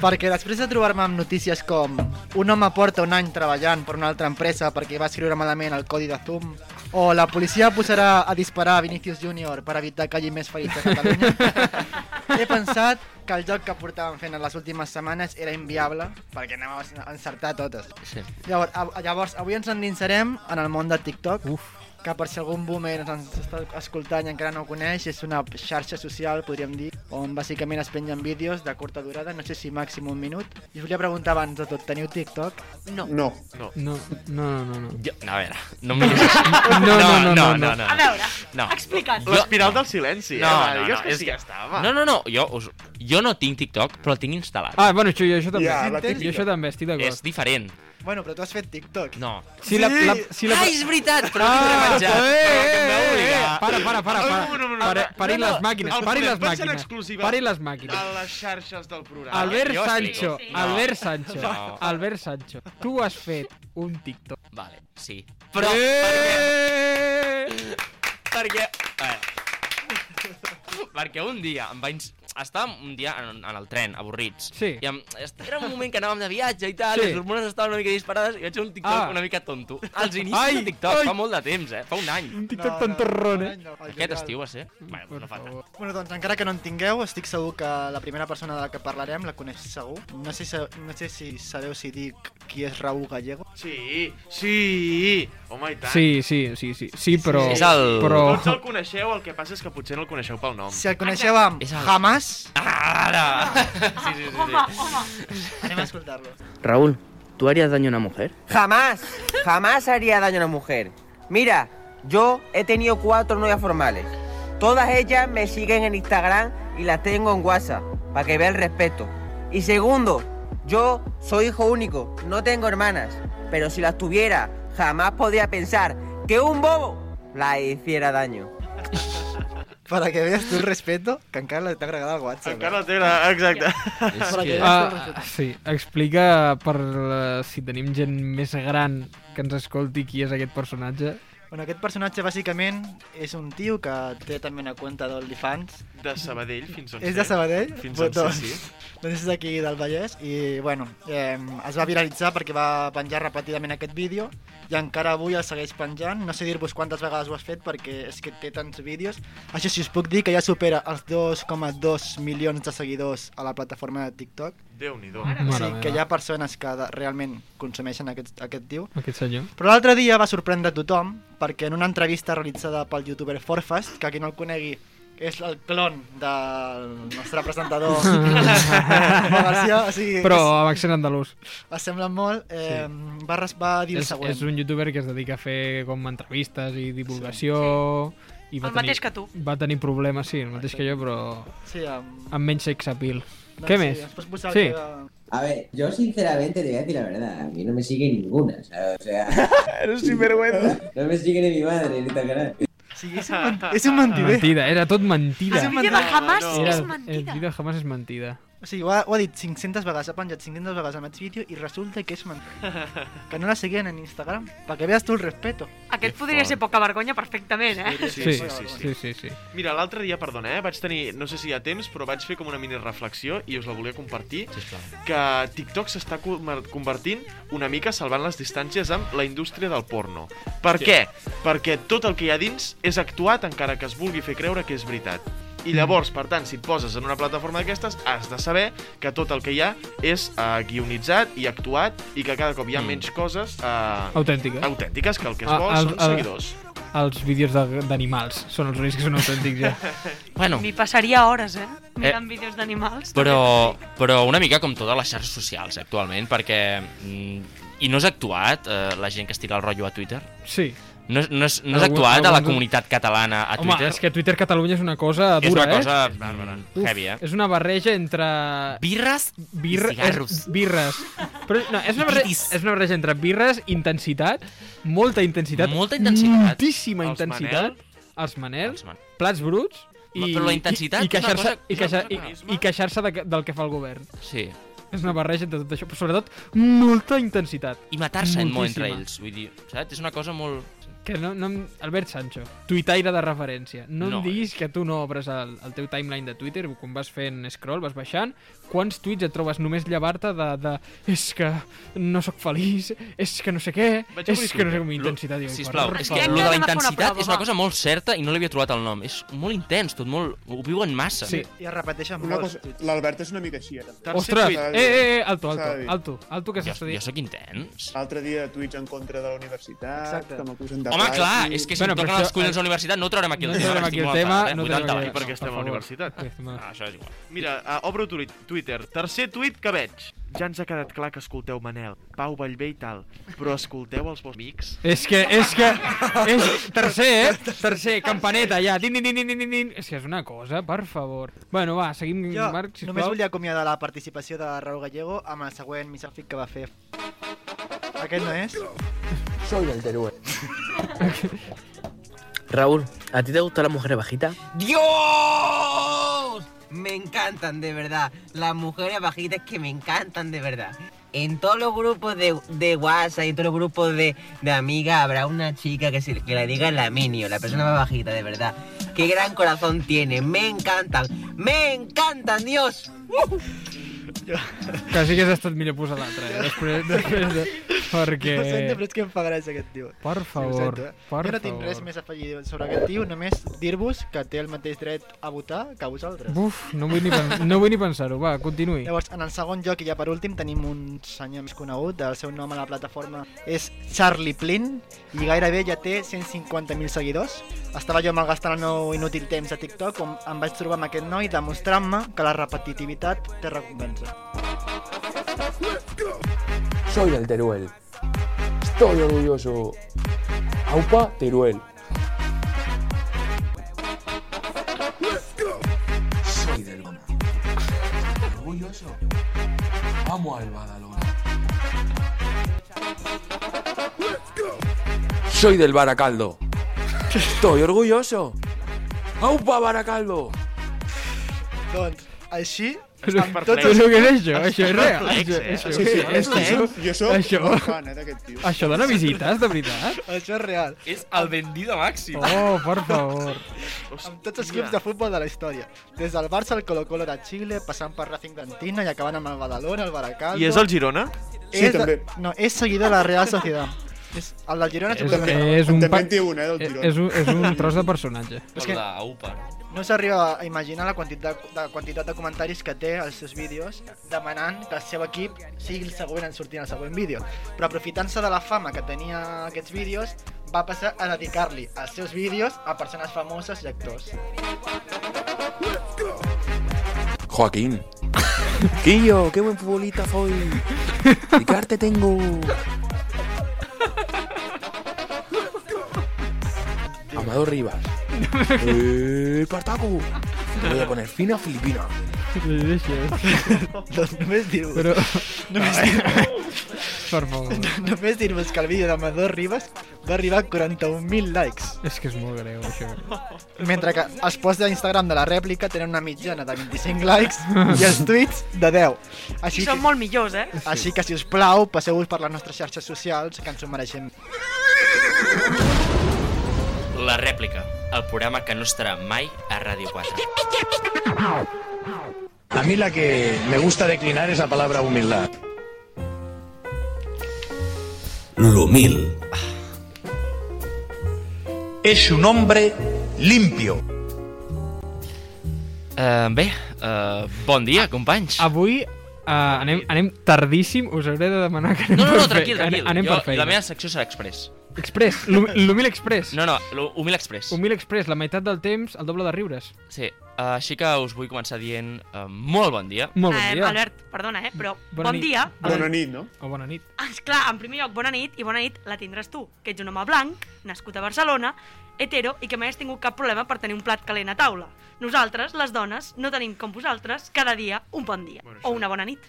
Speaker 5: Perquè després de trobar-me amb notícies com un home porta un any treballant per una altra empresa perquè va escriure malament el codi de Zoom, o la policia posarà a disparar a Vinicius Júnior per evitar que hi hagi més ferits a Catalunya, he pensat que el joc que portàvem fent en les últimes setmanes era inviable perquè anàvem a encertar totes.
Speaker 6: sí.
Speaker 5: Llavors, a, llavors avui ens endinsarem en el món de TikTok,
Speaker 1: Uf.
Speaker 5: que per si algun boomer ens està escoltant i encara no ho coneix, és una xarxa social, podríem dir, on bàsicament es pengen vídeos de curta durada, no sé si màxim un minut. I us volia preguntar abans de tot, teniu TikTok?
Speaker 2: No.
Speaker 8: No.
Speaker 1: No, no, no, no.
Speaker 6: Jo... no, A veure, no em miris així.
Speaker 1: No, no, no, no. no, no.
Speaker 2: A veure,
Speaker 6: No.
Speaker 2: explica't.
Speaker 7: L'espiral del silenci,
Speaker 6: No,
Speaker 7: eh? va,
Speaker 6: no,
Speaker 7: digues
Speaker 6: no,
Speaker 7: que
Speaker 6: és
Speaker 7: sí, ja
Speaker 6: que-
Speaker 7: està, va.
Speaker 6: No, no, no, jo, us... jo no tinc TikTok, però el tinc instal·lat.
Speaker 1: Ah, bueno, això, jo això també.
Speaker 8: Ja, la
Speaker 1: jo
Speaker 8: típica.
Speaker 1: això també, estic
Speaker 6: és
Speaker 1: d'acord.
Speaker 6: diferent.
Speaker 5: Bueno, però tu has fet TikTok.
Speaker 6: No.
Speaker 1: Si la, la, si la...
Speaker 6: Ah, és veritat, però no podré
Speaker 1: Ah, eh,
Speaker 6: menjar.
Speaker 1: eh, eh, eh,
Speaker 6: obligar.
Speaker 1: para, para, para,
Speaker 7: Ai,
Speaker 1: para.
Speaker 7: no, no, no, no.
Speaker 1: Pare- Parin
Speaker 7: No, no,
Speaker 1: les màquines,
Speaker 7: el
Speaker 1: parin
Speaker 7: Julián,
Speaker 1: les
Speaker 7: vaig ser
Speaker 1: màquines.
Speaker 7: l'exclusiva.
Speaker 1: Parin les
Speaker 7: A
Speaker 1: màquines.
Speaker 7: les xarxes del programa.
Speaker 1: Albert
Speaker 6: jo explico.
Speaker 1: Sancho,
Speaker 2: Sí, sí.
Speaker 1: Albert Sancho,
Speaker 6: No.
Speaker 1: Albert Sancho. Tu has fet un TikTok.
Speaker 6: Vale, sí. Però,
Speaker 1: Eh.
Speaker 6: perquè... A veure. perquè un dia em va... Ins... Estàvem un dia en, en el tren, avorrits.
Speaker 1: Sí.
Speaker 6: I em... era un moment que anàvem de viatge i tal,
Speaker 1: Sí.
Speaker 6: sí. les hormones estaven una mica disparades i vaig fer un TikTok
Speaker 1: Ah.
Speaker 6: una mica tonto. Als inicis
Speaker 1: Ai,
Speaker 6: ai, de TikTok,
Speaker 1: ai.
Speaker 6: fa molt de temps, eh? Fa un any.
Speaker 1: Un TikTok tan torrón, eh?
Speaker 5: no, al
Speaker 6: Aquest
Speaker 5: juliol.
Speaker 6: estiu va ser? Bueno,
Speaker 1: Per
Speaker 6: no fa tant.
Speaker 1: favor.
Speaker 5: Bueno, doncs encara que no en tingueu, estic segur que la primera persona de la que parlarem la coneix segur. No sé, si, no sé si sabeu si dic qui és Raúl Gallego.
Speaker 7: Sí, sí. Home, i tant.
Speaker 1: Sí, oh. sí, sí, sí, sí, però...
Speaker 6: És el...
Speaker 1: Però...
Speaker 7: Tots el coneixeu, el que passa és que potser no el coneixeu pel nom.
Speaker 5: Si el coneixeu amb
Speaker 6: És el-
Speaker 5: Hamas,
Speaker 6: Ara!
Speaker 1: Ah.
Speaker 6: Sí, sí, sí.
Speaker 2: Home, home,
Speaker 5: anem a escoltar-lo.
Speaker 9: Raúl, ¿tú harías daño a una mujer?
Speaker 10: Jamás, jamás haría daño a una mujer. Mira, yo he tenido cuatro novias formales. Todas ellas me siguen en Instagram y las tengo en WhatsApp, para que vea el respeto. Y segundo, yo soy hijo único, no tengo hermanas, pero si las tuviera, jamás podría pensar que un bobo la hiciera daño.
Speaker 5: Para que veas tu el respeto, que encara t'ha agregat el eh? WhatsApp.
Speaker 7: Encara té la... Exacte.
Speaker 6: És que...
Speaker 1: Ah, sí, explica per la... si tenim gent més gran que ens escolti qui és aquest personatge.
Speaker 5: Bueno, aquest personatge bàsicament és un tio que té també una cuenta d'OnlyFans
Speaker 7: de Sabadell fins on
Speaker 5: És
Speaker 7: sé.
Speaker 5: de Sabadell?
Speaker 7: Fins
Speaker 5: Bo-
Speaker 7: on sé,
Speaker 5: doncs,
Speaker 7: sí.
Speaker 5: Doncs és d'aquí del Vallès i, bueno, eh, es va viralitzar perquè va penjar repetidament aquest vídeo i encara avui el segueix penjant. No sé dir-vos quantes vegades ho has fet perquè és que té tants vídeos. Això sí, us puc dir que ja supera els 2,2 milions de seguidors a la plataforma de TikTok.
Speaker 7: Déu-n'hi-do.
Speaker 5: O sigui, que hi ha persones que de- realment consumeixen aquest, aquest tio.
Speaker 1: Aquest senyor.
Speaker 5: Però l'altre dia va sorprendre tothom perquè en una entrevista realitzada pel youtuber Forfast, que a qui no el conegui és el clon del nostre presentador Pau Garcia, o sigui,
Speaker 1: Però
Speaker 5: és-
Speaker 1: amb accent andalús.
Speaker 5: es semblen molt, eh, sí. va, res- va dir el
Speaker 1: És,
Speaker 5: següent.
Speaker 1: és un youtuber que es dedica a fer com entrevistes i divulgació... I va
Speaker 5: El
Speaker 1: tenir,
Speaker 5: mateix que tu.
Speaker 1: Va tenir problemes, sí, el mateix que jo, però
Speaker 5: Sí, amb-
Speaker 1: amb menys sex appeal.
Speaker 5: Doncs
Speaker 1: Ah, Què
Speaker 5: sí,
Speaker 1: més?
Speaker 5: ens pots posar el
Speaker 1: sí.
Speaker 5: que-
Speaker 11: A ver, yo sinceramente te voy a decir la verdad, a mí no me sigue ninguna, ¿sabes? O sea...
Speaker 7: Eres sinvergüenza.
Speaker 11: No me sigue ni mi madre en Instagram.
Speaker 5: Sí, és un, men- és un
Speaker 7: Ah,
Speaker 1: Ah,
Speaker 5: mentider.
Speaker 1: Mentida, era tot mentida.
Speaker 5: És un mentida, No, jamás no. és
Speaker 1: Era-
Speaker 5: mentida.
Speaker 1: El vídeo jamás és mentida.
Speaker 5: O sigui, ho ha, ho ha dit 500 vegades, ha penjat 500 vegades el mateix vídeo i resulta que és mentida. Que no la seguien en Instagram, perquè veas tu el respeto.
Speaker 2: Aquest podria ser poca vergonya perfectament, eh?
Speaker 7: Sí, sí, sí, sí.
Speaker 1: sí, sí.
Speaker 7: Mira, l'altre dia, perdona, eh, vaig tenir, no sé si hi ha temps, però vaig fer com una mini reflexió i us la volia compartir, que TikTok s'està com- convertint una mica salvant les distàncies amb la indústria del porno. Per
Speaker 12: Sí.
Speaker 7: què? Perquè tot el que hi ha dins és actuat encara que es vulgui fer creure que és veritat. I llavors, per tant, si et poses en una plataforma d'aquestes, has de saber que tot el que hi ha és eh, guionitzat i actuat i que cada cop hi ha menys coses eh,
Speaker 1: Autèntiques.
Speaker 7: autèntiques que el que es
Speaker 1: Mm. Ah,
Speaker 7: vol
Speaker 1: el-
Speaker 7: són
Speaker 1: el-
Speaker 7: seguidors.
Speaker 1: Els vídeos de- d'animals són els únics que són autèntics ja.
Speaker 6: Bueno.
Speaker 2: M'hi passaria hores, eh? Mirant vídeos d'animals.
Speaker 6: Però, però una mica com totes les xarxes socials actualment, perquè... mm, I no és actuat eh, la gent que estira el rotllo a Twitter?
Speaker 1: Sí.
Speaker 6: No, és- no, és, no és
Speaker 1: Algun-
Speaker 6: actuat a la
Speaker 1: alguns-
Speaker 6: comunitat catalana a
Speaker 1: Home,
Speaker 6: Twitter?
Speaker 1: és que Twitter Catalunya és una cosa
Speaker 6: És
Speaker 1: dura,
Speaker 6: una cosa
Speaker 1: eh?
Speaker 6: mm,
Speaker 1: Uf,
Speaker 6: heavy, eh?
Speaker 1: És una barreja entre...
Speaker 6: Birres
Speaker 1: birra,
Speaker 6: i cigarros.
Speaker 1: És, birres. Però, no, és, una barreja, és una barreja entre birres, intensitat, molta intensitat,
Speaker 6: Molta intensitat.
Speaker 1: moltíssima
Speaker 6: Els
Speaker 1: intensitat, els Manel,
Speaker 6: Doncs,
Speaker 1: plats bruts,
Speaker 6: Ma-
Speaker 1: i,
Speaker 6: però la intensitat
Speaker 1: i, i
Speaker 6: és una
Speaker 1: queixar-se
Speaker 6: cosa-
Speaker 1: i, queixar, i, i queixar de, que- del que fa el govern.
Speaker 6: Sí.
Speaker 1: És una barreja entre tot això, però sobretot molta intensitat.
Speaker 6: I matar-se en molt entre
Speaker 1: Moltíssima.
Speaker 6: ells, vull dir, saps? És una cosa molt...
Speaker 1: Que no, no, em- Albert Sancho, tuitaire de referència. No, no
Speaker 6: No, eh.
Speaker 1: em diguis que tu no obres el, el teu timeline de Twitter, quan vas fent scroll, vas baixant, quants tuits et trobes només llevar-te de, de és que no sóc feliç, és que no sé què,
Speaker 6: Vaig a
Speaker 1: és que no sé
Speaker 6: Lo-
Speaker 1: com intensitat. Diu,
Speaker 6: Sisplau,
Speaker 1: per
Speaker 6: és
Speaker 1: favor.
Speaker 6: que lo de la intensitat és una cosa molt certa i no l'havia trobat el nom. És molt intens, tot molt... Ho viuen massa.
Speaker 5: I es repeteixen
Speaker 8: Eh, Una
Speaker 5: molts.
Speaker 8: cosa, l'Albert és una mica així, ara.
Speaker 1: Ostres, eh, eh, eh, alto,
Speaker 8: S'ha de
Speaker 1: alto,
Speaker 8: dir.
Speaker 1: alto, alto, que s'està dient.
Speaker 6: sóc intens.
Speaker 8: L'altre dia tuits en contra de la universitat,
Speaker 1: Exacte.
Speaker 8: que m'acusen de
Speaker 6: Home,
Speaker 8: raci.
Speaker 6: clar, és que si bueno, em toquen els collons a la universitat no traurem aquí el
Speaker 1: eh, no
Speaker 6: tema.
Speaker 1: traurem
Speaker 6: estic
Speaker 1: aquí el
Speaker 6: molt
Speaker 1: tema,
Speaker 6: enfadada, eh?
Speaker 1: no
Speaker 6: Vull
Speaker 1: traurem
Speaker 6: tancar,
Speaker 1: aquí-
Speaker 6: eh?
Speaker 1: perquè
Speaker 7: que estem a la
Speaker 1: favor.
Speaker 7: universitat.
Speaker 1: Ah,
Speaker 6: això és igual.
Speaker 7: Mira, uh, obro tu- Twitter. Tercer tuit que veig. Ja ens ha quedat clar que escolteu Manel, Pau Vallvé i tal, però escolteu els vostres amics?
Speaker 1: És que, és que, és tercer, eh? Tercer, campaneta, ja. Din, din, din, din, din, din. És que és una cosa, per favor. Bueno, va, seguim,
Speaker 5: Jo
Speaker 1: Marc, sisplau.
Speaker 5: només volia acomiadar la participació de Raúl Gallego amb el següent missàfic que va fer. Aquest no és?
Speaker 9: Soy del Teruel. Raúl, ¿a ti te gusta la mujer bajita?
Speaker 10: ¡Dios! Me encantan, de verdad. Las mujeres bajitas que me encantan, de verdad. En todos los grupos de, de WhatsApp y en todos los grupos de, de amigas habrá una chica que, se, que la diga la mini o la persona más bajita, de verdad. Qué gran corazón tiene. Me encantan. Me encantan, Dios. ¡Uh!
Speaker 1: Que sí que has estat millor posar l'altre, eh? Després, després de... Perquè...
Speaker 5: Ho sento, però és que em fa gràcia aquest tio.
Speaker 1: Per favor,
Speaker 5: Sí, ho sento, eh?
Speaker 1: per
Speaker 5: Jo no tinc
Speaker 1: favor.
Speaker 5: res més a afegir sobre aquest tio, només dir-vos que té el mateix dret a votar que vosaltres.
Speaker 1: Buf, no vull ni, pen no vull ni pensar-ho. Va, continuï.
Speaker 5: Llavors, en el segon lloc i ja per últim tenim un senyor més conegut, el seu nom a la plataforma és Charlie Plin i gairebé ja té 150.000 seguidors. Estava jo malgastant el meu inútil temps a TikTok quan em vaig trobar amb aquest noi demostrant-me que la repetitivitat té recompensa.
Speaker 13: Soy del Teruel. Estoy orgulloso. Aupa Teruel. Soy del Goma. Orgulloso. Vamos al Badalona. Soy del Baracaldo. Estoy orgulloso. Aupa Baracaldo.
Speaker 5: Doncs, així...
Speaker 1: Però-
Speaker 5: amb
Speaker 1: però
Speaker 5: tots els-
Speaker 1: què és això? Això és real? Això- això
Speaker 5: eh? Sí, sí,
Speaker 1: què és?
Speaker 6: eh?
Speaker 5: perplex.
Speaker 1: Això- Jo sóc això- molt fan, eh, d'aquest tio. això dona visites, de veritat?
Speaker 5: Això és real.
Speaker 6: És el vendido màxim.
Speaker 1: Oh, per favor.
Speaker 5: Amb tots els clubs de futbol de la història. Des del Barça al Colo-Colo de Xile, passant per Racing d'Antina i acabant amb el Badalona, el Baracaldo...
Speaker 7: I és el Girona?
Speaker 5: És de- No, és seguidor de la Real Sociedad. És, el del Girona és,
Speaker 1: És,
Speaker 5: el Barcelona.
Speaker 1: és un pa-
Speaker 5: eh,
Speaker 1: és, un, és un tros de personatge.
Speaker 5: És que- No s'arriba a imaginar la quantitat, la quantitat de comentaris que té als seus vídeos demanant que el seu equip sigui el següent en sortir al següent vídeo. Però aprofitant-se de la fama que tenia aquests vídeos, va passar a dedicar-li els seus vídeos a persones famoses i actors.
Speaker 13: Joaquín. Quillo, qué buen futbolista soy. ¿Y qué arte tengo? Amado Rivas. Eh, Partaco. Te voy a poner fina filipina.
Speaker 5: doncs només dir-vos...
Speaker 1: Però-
Speaker 5: Només dir-vos...
Speaker 1: Per favor.
Speaker 5: només dir-vos que el vídeo d'Amador Ribas va arribar a 41.000 likes.
Speaker 1: És que és molt greu, això.
Speaker 5: Mentre que els posts d'Instagram de la rèplica tenen una mitjana de 25 likes i els tuits de 10.
Speaker 2: I són molt millors, eh?
Speaker 5: Així que, si us plau, passeu-vos per les nostres xarxes socials, que ens ho mereixem.
Speaker 6: La rèplica, el programa que no estarà mai a Ràdio 4.
Speaker 9: A mí la que me gusta declinar es la palabra humildad.
Speaker 4: L'humil.
Speaker 9: Es un hombre limpio.
Speaker 6: Uh, bé, uh, bon dia, companys.
Speaker 1: Avui uh, anem, anem tardíssim, us hauré de demanar que anem
Speaker 6: No, no, no,
Speaker 1: per fe-
Speaker 6: tranquil,
Speaker 1: anem-
Speaker 6: tranquil.
Speaker 1: Anem
Speaker 6: jo,
Speaker 1: per feina.
Speaker 6: la meva secció serà express.
Speaker 1: Express, l'hum- l'humil express.
Speaker 6: No, no, l'humil express.
Speaker 1: Humil express, la meitat del temps, el doble de riures.
Speaker 6: Sí, uh, així que us vull començar dient uh, molt bon dia.
Speaker 1: Molt
Speaker 2: Eh, Albert, perdona, eh? Però
Speaker 6: Bona
Speaker 2: bon
Speaker 6: nit.
Speaker 2: dia. Eh,
Speaker 6: Bona nit,
Speaker 1: no? O bona nit.
Speaker 2: Esclar, en primer lloc, bona nit, i bona nit la tindràs tu, que ets un home blanc, nascut a Barcelona, hetero i que mai has tingut cap problema per tenir un plat calent a taula. Nosaltres, les dones, no tenim com vosaltres cada dia un bon dia bueno, o una bona nit.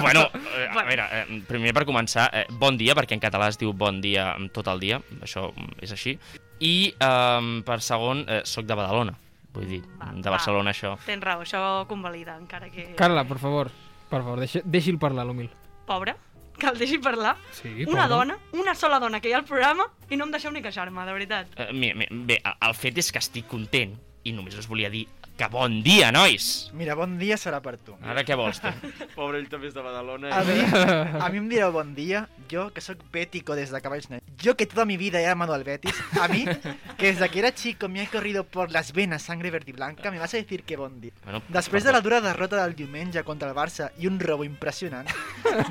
Speaker 6: bueno, eh, a veure, eh, primer per començar, eh, bon dia, perquè en català es diu bon dia mm, tot el dia, això mm, és així. I eh, per segon, eh, soc de Badalona, vull dir, de Barcelona això.
Speaker 2: Tens raó, això convalida, encara que...
Speaker 1: Carla, per favor, per favor, deixi, deixi'l parlar, l'humil.
Speaker 2: Pobre, que el deixi parlar.
Speaker 1: Sí, pobre.
Speaker 2: una dona, una sola dona que hi ha al programa i no em deixeu ni queixar-me, de veritat.
Speaker 6: Eh, mi- mi- bé, el- el fet és que estic content i només us volia dir que bon dia, nois!
Speaker 5: Mira, bon dia serà per tu.
Speaker 6: Ara què vols, tu?
Speaker 7: Pobre, ell també és de Badalona.
Speaker 5: A mi,
Speaker 7: eh?
Speaker 5: a mi em direu bon dia, jo que sóc bético des de que vaig néixer. Jo que toda mi vida he amado al Betis, a mí, que desde que era chico me ha corrido por las venas sangre verde y blanca, me vas a decir que bon dia.
Speaker 6: Bueno,
Speaker 5: Després de la dura derrota del diumenge contra el Barça i un robo impressionant,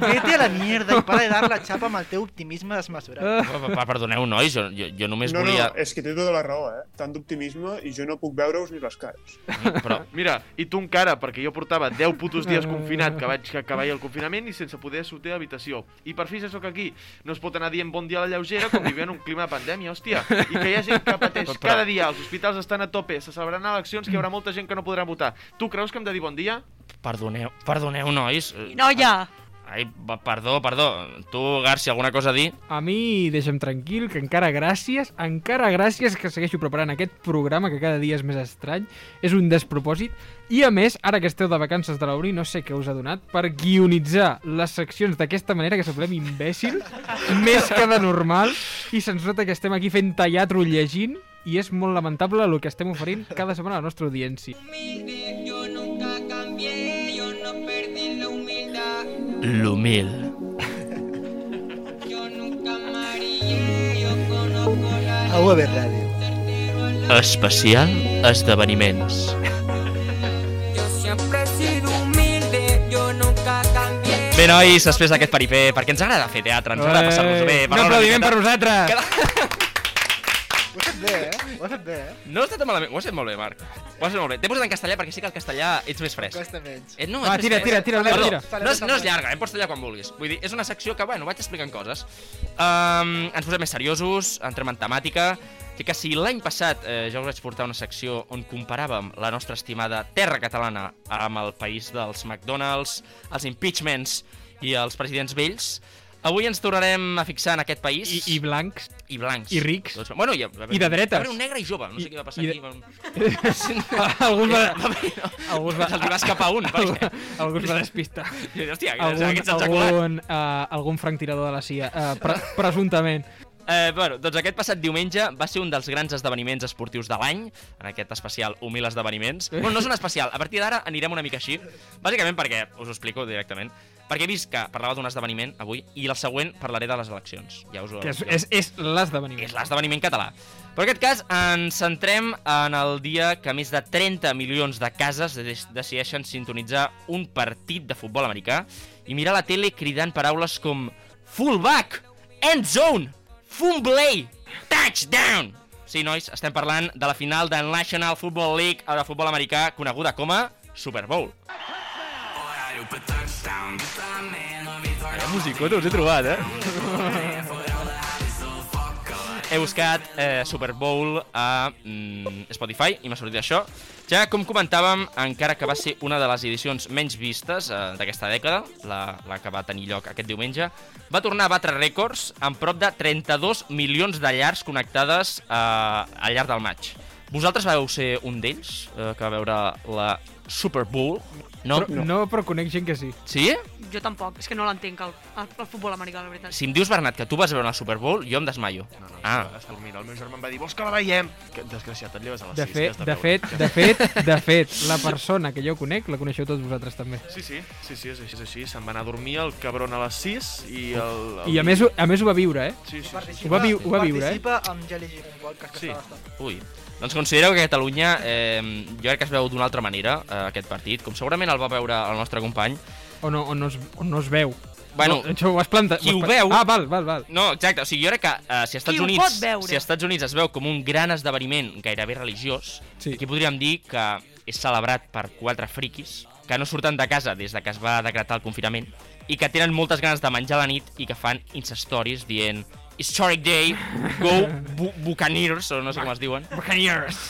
Speaker 5: vete a la mierda i para de dar la xapa amb el teu optimisme desmesurat.
Speaker 6: Per- per- Perdoneu, nois, jo, jo, jo només
Speaker 8: No,
Speaker 6: volia...
Speaker 8: no, és que té tota la raó, eh? Tant d'optimisme i jo no puc veure-us ni les cares.
Speaker 6: Però...
Speaker 7: Mira, i tu encara, perquè jo portava 10 putos dies confinat, que vaig acabar ahir el confinament i sense poder sortir d'habitació. I per fi ja sóc aquí. No es pot anar dient bon dia a la lleugera com vivint un clima de pandèmia, hòstia. I que hi ha gent que pateix
Speaker 6: Però- però-
Speaker 7: cada dia, els hospitals estan a tope, se celebraran eleccions que hi haurà molta gent que no podrà votar. Tu creus que hem de dir bon dia?
Speaker 6: Perdoneu, perdoneu, nois. eh,
Speaker 1: Ah.
Speaker 2: Noia!
Speaker 6: Ai, va- perdó, perdó. Tu, Garci, alguna cosa a dir?
Speaker 1: A mi deixa'm tranquil, que encara gràcies, encara gràcies que segueixo preparant aquest programa que cada dia és més estrany, és un despropòsit, i a més, ara que esteu de vacances de l'Uri, no sé què us ha donat, per guionitzar les seccions d'aquesta manera que semblem imbècil, més que de normal, i se'ns nota que estem aquí fent teatro llegint, i és molt lamentable el que estem oferint cada setmana a la nostra audiència.
Speaker 6: L'humil.
Speaker 5: A UAB Ràdio.
Speaker 6: Especial esdeveniments.
Speaker 12: Yo siempre he sido humilde, yo nunca cambié.
Speaker 6: Bé, nois, després d'aquest peripé, perquè ens agrada fer teatre, ens agrada passar-nos bé.
Speaker 1: Eh, Un aplaudiment per nosaltres!
Speaker 5: Ho has fet bé, eh? Ho has fet bé, eh?
Speaker 6: No has estat malament, ho has fet molt bé, Marc. Ho has fet molt bé. T'he posat en castellà perquè sí que el castellà ets més fresc.
Speaker 5: Costa menys.
Speaker 6: Eh, no,
Speaker 1: Va,
Speaker 6: ets més
Speaker 1: tira,
Speaker 6: fresc.
Speaker 1: tira, tira, Albert,
Speaker 6: Perdó,
Speaker 1: tira.
Speaker 6: No és, no és llarga, eh? pots tallar quan vulguis. Vull dir, és una secció que, bueno, vaig explicant coses. Um, ens posem més seriosos, entrem en temàtica. Que, que si l'any passat eh, ja us vaig portar una secció on comparàvem la nostra estimada terra catalana amb el país dels McDonald's, els impeachments i els presidents vells, avui ens tornarem a fixar en aquest país. I,
Speaker 1: i blancs.
Speaker 6: I blancs.
Speaker 1: I rics.
Speaker 6: Doncs, bueno, i,
Speaker 1: I de dretes.
Speaker 6: Va haver un negre i jove, no sé què va passar
Speaker 1: i de-
Speaker 6: aquí. va-
Speaker 1: Alguns va...
Speaker 6: Algú va... Se li va escapar un, perquè...
Speaker 1: Algú es va despistar.
Speaker 6: I, hòstia,
Speaker 1: algun, eh,
Speaker 6: aquests han
Speaker 1: algun, uh, algun franc tirador de la CIA, uh, pre Eh, presumptament.
Speaker 6: Eh, bueno, doncs aquest passat diumenge va ser un dels grans esdeveniments esportius de l'any, en aquest especial 1.000 esdeveniments.
Speaker 1: Eh.
Speaker 6: Bueno, no és un especial, a partir d'ara anirem una mica així, bàsicament perquè, us ho explico directament, perquè he vist que parlava d'un esdeveniment avui i el següent parlaré de les eleccions. Ja us ho
Speaker 1: Que és, és, és l'esdeveniment.
Speaker 6: és l'esdeveniment català. Però en aquest cas ens centrem en el dia que més de 30 milions de cases de- decideixen sintonitzar un partit de futbol americà i mirar la tele cridant paraules com fullback, end zone, fumblay, touchdown. Sí, nois, estem parlant de la final de National Football League a la futbol americà coneguda com a Super Bowl. Allà musicó, us he trobat, eh? he buscat eh, Super Bowl a mm, Spotify i m'ha sortit això. Ja, com comentàvem, encara que va ser una de les edicions menys vistes eh, d'aquesta dècada, la, la que va tenir lloc aquest diumenge, va tornar a batre rècords amb prop de 32 milions de llars connectades eh, al llarg del maig. Vosaltres vau ser un d'ells eh, que va veure la Super Bowl? No?
Speaker 1: Però, no, però conec gent que sí.
Speaker 6: Sí?
Speaker 2: Jo tampoc, és que no l'entenc, el, el, el futbol americà, la veritat.
Speaker 6: Si em dius, Bernat, que tu vas veure la Super Bowl, jo em desmaio. No, no, ah.
Speaker 7: Estàs dormint. El meu germà em va dir, vols que la veiem? Que, desgraciat, et
Speaker 6: Oh,
Speaker 7: lleves a les
Speaker 1: De
Speaker 7: 6.
Speaker 1: fet, de fet, de fet, de fet, la persona que jo conec la coneixeu tots vosaltres també.
Speaker 7: Sí, sí, sí, sí, és així, és així. Se'n va anar a dormir el cabron a les 6 i el... el...
Speaker 1: I a més, ho- a més ho va viure, eh?
Speaker 7: Sí, sí, sí.
Speaker 1: Ho va, viu, ho va viure, eh?
Speaker 5: Participa amb Jelly Jim Podcast, que sí. està bastant.
Speaker 6: Ui. Doncs considereu que Catalunya, eh, jo crec que es veu d'una altra manera, eh, aquest partit, com segurament el va veure el nostre company.
Speaker 1: O no, o no, es, o no es veu.
Speaker 6: Bueno,
Speaker 1: no, eh. això ho has plantat.
Speaker 6: qui
Speaker 1: has
Speaker 6: ho
Speaker 1: pla-
Speaker 6: veu-
Speaker 1: Ah, val, val, val.
Speaker 6: No, exacte, o sigui, jo crec que eh, si als Estats
Speaker 1: Qui ho pot
Speaker 6: Units,
Speaker 1: veure?
Speaker 6: si als Estats Units es veu com un gran esdeveniment gairebé religiós, sí. aquí podríem dir que és celebrat per quatre friquis que no surten de casa des de que es va decretar el confinament i que tenen moltes ganes de menjar a la nit i que fan incestoris dient Historic Day, go Bu- Buccaneers, o no sé com es diuen.
Speaker 1: Buccaneers.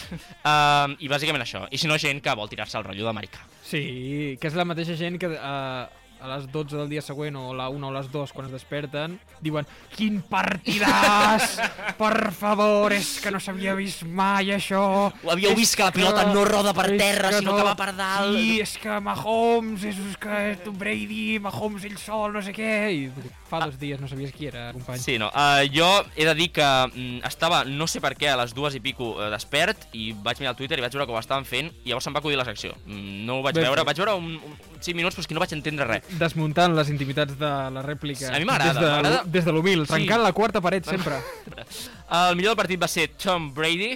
Speaker 6: Um, I bàsicament això. I si no, gent que vol tirar-se el rotllo d'americà.
Speaker 1: Sí, que és la mateixa gent que eh, a les 12 del dia següent o a la 1 o a les 2 quan es desperten diuen Quin partidàs! Per favor, és que no s'havia vist mai això!
Speaker 6: Ho havíeu
Speaker 1: És
Speaker 6: vist que la pilota no roda per
Speaker 1: és
Speaker 6: terra, sinó que va per dalt."
Speaker 1: Sí, és que Mahomes, és que Tom Brady, Mahomes ell sol, no sé què... I fa dos dies no sabies qui era, company.
Speaker 6: Sí, no. Uh, jo he de dir que mm, estava, no sé per què, a les dues i pico uh, despert i vaig mirar el Twitter i vaig veure que ho estaven fent i llavors se'm va acudir la secció. Mm, no ho vaig
Speaker 1: Ben
Speaker 6: veure,
Speaker 1: fet.
Speaker 6: vaig veure un, un, 5 minuts però és que no vaig entendre res.
Speaker 1: Desmuntant les intimitats de la rèplica.
Speaker 6: A mi m'agrada,
Speaker 1: Des de-
Speaker 6: m'agrada.
Speaker 1: Des de l'humil,
Speaker 6: Sí.
Speaker 1: trencant la quarta paret sempre.
Speaker 6: El millor del partit va ser Tom Brady,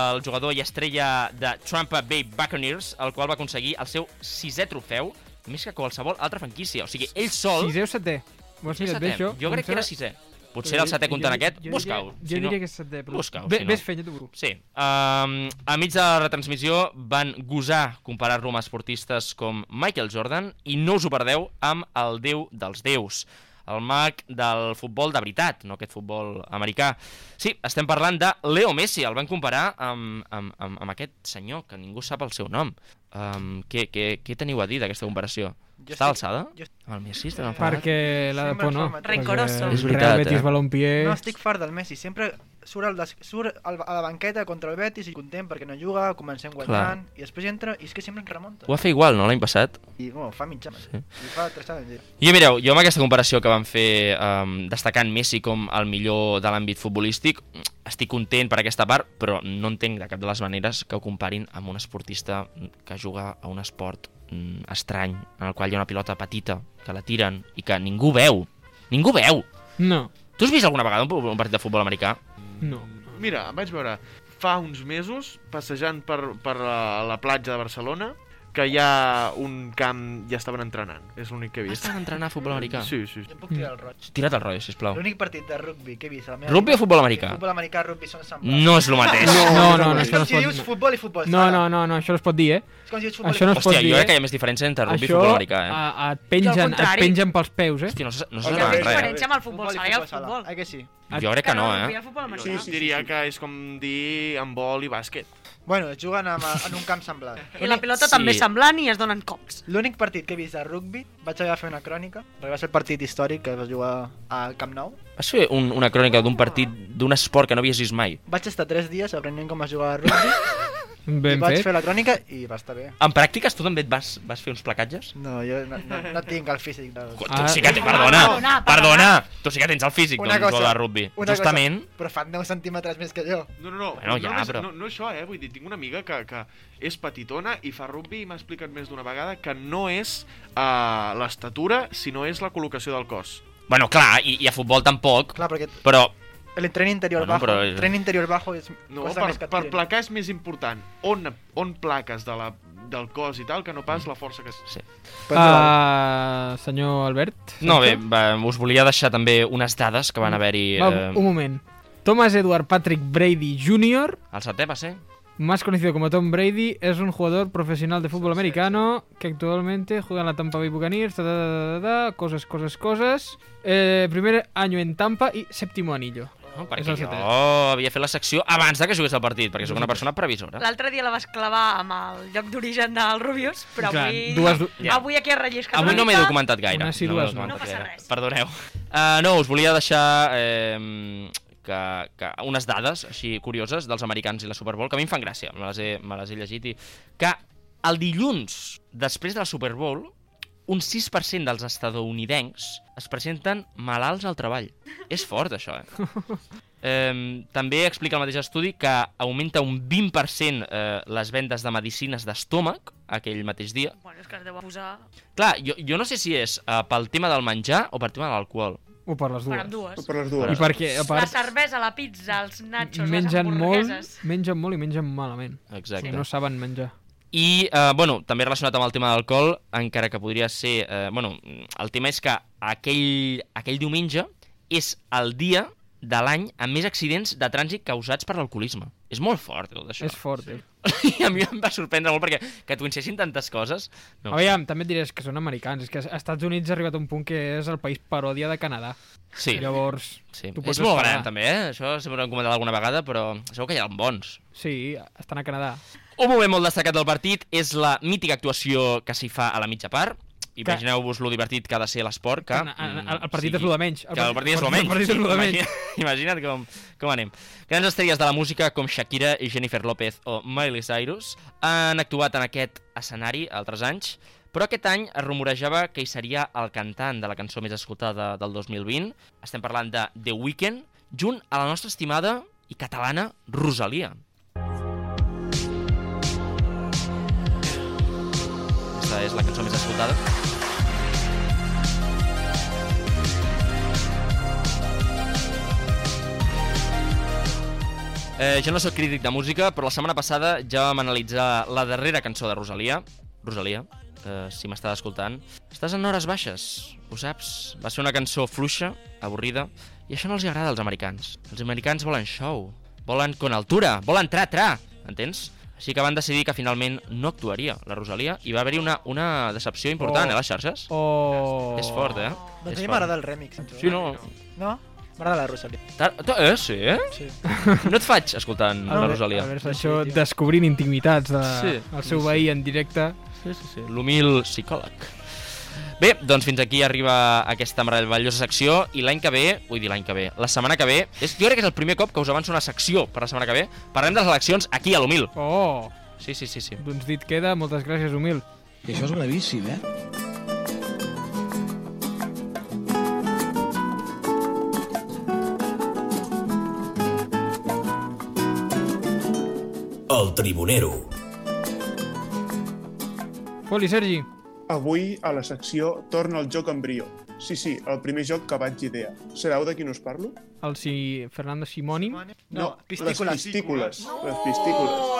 Speaker 6: el jugador i estrella de Tampa Bay Buccaneers, el qual va aconseguir el seu sisè trofeu més que qualsevol altra franquícia. O sigui, ell sol...
Speaker 1: Sisè o setè? Ho has mirat bé,
Speaker 6: setè.
Speaker 1: això?
Speaker 6: Jo crec que era sisè. Potser era el setè comptant aquest. Busca-ho.
Speaker 1: Jo, jo diria que és setè, però...
Speaker 6: Busca-ho,
Speaker 1: Bé,
Speaker 6: si no.
Speaker 1: Ves fent, jo t'ho
Speaker 6: Sí. Um, a mig de la retransmissió van gosar comparar-lo amb esportistes com Michael Jordan i no us ho perdeu amb el déu dels déus, el mag del futbol de veritat, no aquest futbol americà. Sí, estem parlant de Leo Messi, el van comparar amb, amb, amb, amb aquest senyor que ningú sap el seu nom. Um, què, què, què teniu a dir d'aquesta comparació?
Speaker 1: Jo
Speaker 6: Està
Speaker 1: estic-
Speaker 6: alçada? Amb el Messi? estem enfadat?
Speaker 1: Perquè la de por no.
Speaker 5: Rencoroso.
Speaker 1: Perquè
Speaker 6: És veritat,
Speaker 1: Real Betis,
Speaker 6: eh?
Speaker 1: Balompié...
Speaker 5: No estic fart del Messi, sempre surt, al, des- surt al, a la banqueta contra el Betis i content perquè no juga, comencem guanyant, i després entra i és que sempre ens remunta.
Speaker 6: Ho va fer igual, no?, l'any passat.
Speaker 5: I bueno, fa mitja sí. I fa tres anys.
Speaker 6: I mireu, jo amb aquesta comparació que van fer um, destacant Messi com el millor de l'àmbit futbolístic, estic content per aquesta part, però no entenc de cap de les maneres que ho comparin amb un esportista que juga a un esport mm, estrany, en el qual hi ha una pilota petita, que la tiren i que ningú veu. Ningú veu!
Speaker 1: No.
Speaker 6: Tu has vist alguna vegada un, un partit de futbol americà?
Speaker 1: No.
Speaker 7: Mira, em vaig veure fa uns mesos passejant per, per la, la platja de Barcelona que hi ha un camp ja estaven entrenant. És l'únic que he vist.
Speaker 6: Estaven entrenant a futbol americà?
Speaker 7: Sí, sí.
Speaker 5: Jo em puc
Speaker 1: Mm.
Speaker 5: tirar el roig.
Speaker 6: Tira't el rotllo, sisplau.
Speaker 5: L'únic partit de rugby que he vist a la meva
Speaker 6: Rugby
Speaker 5: vida-
Speaker 6: o futbol americà?
Speaker 5: Futbol americà, rugby són semblants.
Speaker 6: No és lo mateix.
Speaker 1: No, no, no,
Speaker 5: és
Speaker 1: això no
Speaker 5: com
Speaker 1: es
Speaker 5: si
Speaker 1: pot...
Speaker 5: dius futbol i futbol
Speaker 1: No,
Speaker 5: sala.
Speaker 1: no, no, no, això no es pot dir, eh?
Speaker 5: És com si dius futbol i
Speaker 1: Això no es pot
Speaker 6: Hòstia,
Speaker 1: dir,
Speaker 6: jo crec
Speaker 1: eh?
Speaker 6: que hi ha més diferència entre rugby i
Speaker 1: Això,
Speaker 6: futbol americà, eh?
Speaker 1: a- a- et
Speaker 6: Jo al
Speaker 1: pengen, et
Speaker 6: contrari.
Speaker 1: pengen pels peus, eh?
Speaker 6: Hòstia, no se- no
Speaker 1: Al
Speaker 6: se saben
Speaker 1: revés.
Speaker 6: res.
Speaker 2: Diferència amb el futbol,
Speaker 5: Futbol i
Speaker 2: sala i el
Speaker 5: futbol sala.
Speaker 2: futbol.
Speaker 5: Ah, que sí?
Speaker 6: Jo crec que no,
Speaker 2: no,
Speaker 6: eh?
Speaker 2: el futbol americà.
Speaker 7: Jo diria que és com dir handbol i bàsquet.
Speaker 5: Bueno, es juguen amb, en un camp semblant.
Speaker 2: I la pilota també és semblant i es donen cops.
Speaker 5: L'únic partit que he vist de rugby, vaig haver de fer una crònica, perquè va ser el partit històric que es va jugar al Camp Nou.
Speaker 6: Vas fer un, una crònica d'un partit d'un esport que no havies vist mai.
Speaker 5: Vaig estar 3 dies aprenent com es jugava a rugby
Speaker 1: Ben
Speaker 5: I vaig
Speaker 1: fet.
Speaker 5: fer la crònica i va estar bé.
Speaker 6: En pràctiques tu també et vas, vas fer uns placatges?
Speaker 5: No, jo no, no, no tinc el físic del...
Speaker 6: Tu sí que tens, perdona, perdona, tu sí que tens el físic
Speaker 5: Una
Speaker 6: doncs,
Speaker 5: cosa,
Speaker 6: de rugby.
Speaker 5: una cosa,
Speaker 6: Justament,
Speaker 5: però fan 10 centímetres més que jo.
Speaker 7: No, no, no.
Speaker 6: Bueno, ja,
Speaker 7: només,
Speaker 6: però-
Speaker 7: no, no això, eh? Vull dir, tinc una amiga que, que és petitona i fa rugby i m'ha explicat més d'una vegada que no és uh, l'estatura, sinó és la col·locació del cos.
Speaker 6: bueno, clar, i, i a futbol tampoc,
Speaker 5: Clar, perquè
Speaker 6: però
Speaker 5: el tren interior
Speaker 6: Bueno,
Speaker 5: bajo,
Speaker 6: però
Speaker 5: el
Speaker 6: és-
Speaker 5: tren interior bajo és
Speaker 7: No,
Speaker 5: cosa
Speaker 7: per,
Speaker 5: més que
Speaker 7: per
Speaker 5: tren.
Speaker 7: placar és més important on, on plaques de la, del cos i tal que no pas la força que...
Speaker 6: Sí.
Speaker 1: Uh, senyor Albert?
Speaker 6: No, bé, eh, va, us volia deixar també unes dades que
Speaker 5: Mm.
Speaker 6: van haver-hi...
Speaker 1: Va, un moment. Thomas Edward Patrick Brady Jr.,
Speaker 6: El setè va ser?
Speaker 1: más conocido como Tom Brady, es un jugador profesional de fútbol americano que actualmente juega en la Tampa Bay Buccaneers. ta, ta, ta, ta, ta, cosas, cosas, cosas. Eh, primer año en Tampa y séptimo anillo.
Speaker 6: No,
Speaker 1: És
Speaker 6: perquè
Speaker 1: el
Speaker 6: jo
Speaker 1: setè.
Speaker 6: havia fet la secció abans de que jugués el partit, perquè
Speaker 5: Mm.
Speaker 6: sóc una persona previsora.
Speaker 2: L'altre dia la vas clavar amb el lloc d'origen del Rubius, però
Speaker 6: Clar,
Speaker 2: avui...
Speaker 6: dues du- Ja.
Speaker 2: Avui aquí es rellisca.
Speaker 6: Avui
Speaker 2: una
Speaker 6: no m'he
Speaker 2: mica.
Speaker 6: documentat gaire.
Speaker 1: Una sí,
Speaker 6: no m'he
Speaker 1: dues no. No
Speaker 6: documentat
Speaker 1: passa
Speaker 6: gaire. Perdoneu. Uh, no, us volia deixar eh, que, que unes dades així curioses dels americans i la Super Bowl, que a mi em fan gràcia, me les he, me les he llegit, i que el dilluns, després de la Super Bowl, un 6% dels estadounidencs es presenten malalts al treball. És fort, això, eh? Eh, també explica el mateix estudi que augmenta un 20% eh, les vendes de medicines d'estómac aquell mateix dia,
Speaker 2: Bueno, és que es deu posar...
Speaker 6: Clar, jo, jo no sé si és uh, pel tema del menjar o pel tema de l'alcohol.
Speaker 1: O per les
Speaker 2: Per ambdues. O
Speaker 8: per les
Speaker 1: dues. I perquè, a
Speaker 2: La
Speaker 1: part,
Speaker 2: cervesa, la pizza, els nachos,
Speaker 1: mengen
Speaker 2: les
Speaker 1: molt,
Speaker 2: hamburgueses...
Speaker 1: mengen molt i mengen malament.
Speaker 6: Exacte.
Speaker 1: O sigui, no saben menjar.
Speaker 6: I, eh, bueno, també relacionat amb el tema de l'alcohol, encara que podria ser... Eh, bueno, el tema és que aquell, aquell diumenge és el dia de l'any amb més accidents de trànsit causats per l'alcoholisme. És molt fort, tot això.
Speaker 1: És fort, eh?
Speaker 6: I a mi em va sorprendre molt perquè que twincessin tantes coses... No.
Speaker 1: No. Aviam, també et diré és que són americans. És que als Estats Units ha arribat a un punt que és el país paròdia de Canadà.
Speaker 6: Sí.
Speaker 1: Llavors,
Speaker 6: Sí.
Speaker 1: tu
Speaker 6: És
Speaker 1: pots
Speaker 6: molt
Speaker 1: esperar.
Speaker 6: gran, també, eh? Això sempre ho hem comentat alguna vegada, però segur que hi ha bons.
Speaker 1: Sí, estan a Canadà.
Speaker 6: Un moment molt destacat del partit és la mítica actuació que s'hi fa a la mitja part. Imagineu-vos lo divertit que ha de ser l'esport, que...
Speaker 1: Que, eh, eh, el- el partit
Speaker 6: mm,
Speaker 1: és lo de menys. El
Speaker 6: Que el
Speaker 1: partit-
Speaker 6: partit és lo de
Speaker 1: el
Speaker 6: menys.
Speaker 1: partit és lo de menys.
Speaker 6: Imagina- Imagina't com, com anem. Grans estrelles de la música com Shakira i Jennifer López o Miley Cyrus han actuat en aquest escenari altres anys, però aquest any es rumorejava que hi seria el cantant de la cançó més escoltada del 2020. Estem parlant de The Weeknd, junt a la nostra estimada i catalana Rosalia. Aquesta és la cançó més escoltada. Eh, jo no sóc crític de música, però la setmana passada ja vam analitzar la darrera cançó de Rosalia. Rosalia, eh, si m'estàs escoltant, estàs en hores baixes, ho saps? Va ser una cançó fluixa, avorrida, i això no els hi agrada als americans. Els americans volen show, volen con altura, volen tra-tra, entens? Així que van decidir que finalment no actuaria la Rosalia i va haver-hi una, una decepció important
Speaker 5: Oh.
Speaker 6: oh. a les xarxes.
Speaker 1: Oh.
Speaker 6: És fort, eh?
Speaker 5: Doncs a
Speaker 6: És
Speaker 5: mi
Speaker 6: fort.
Speaker 5: m'agrada el remix. en
Speaker 6: Sí, no.
Speaker 5: No? M'agrada la Rosalia.
Speaker 6: Tar- tu- Eh, sí, eh?
Speaker 5: Sí.
Speaker 6: No et faig escoltant
Speaker 1: Ah,
Speaker 6: la
Speaker 1: bé.
Speaker 6: Rosalia.
Speaker 1: A veure, això descobrint intimitats del de,
Speaker 6: Sí.
Speaker 1: el seu
Speaker 6: Sí, sí.
Speaker 1: veí en directe.
Speaker 6: Sí, sí, sí. l'humil psicòleg. Bé, doncs fins aquí arriba aquesta meravellosa secció i l'any que ve, vull dir l'any que ve, la setmana que ve, és, jo crec que és el primer cop que us avanço una secció per la setmana que ve, parlem de les eleccions aquí a l'humil.
Speaker 1: Oh!
Speaker 6: Sí, sí, sí, sí.
Speaker 1: Doncs dit queda, moltes gràcies, humil. I això és gravíssim, eh?
Speaker 4: El Tribunero.
Speaker 1: Poli, Sergi.
Speaker 8: Avui, a la secció Torna el joc embrió. Sí, sí, el primer joc que vaig idear. Sabeu de quin us parlo?
Speaker 1: El si... Fernando Simònim.
Speaker 8: les pistícules. No! Les pistícules.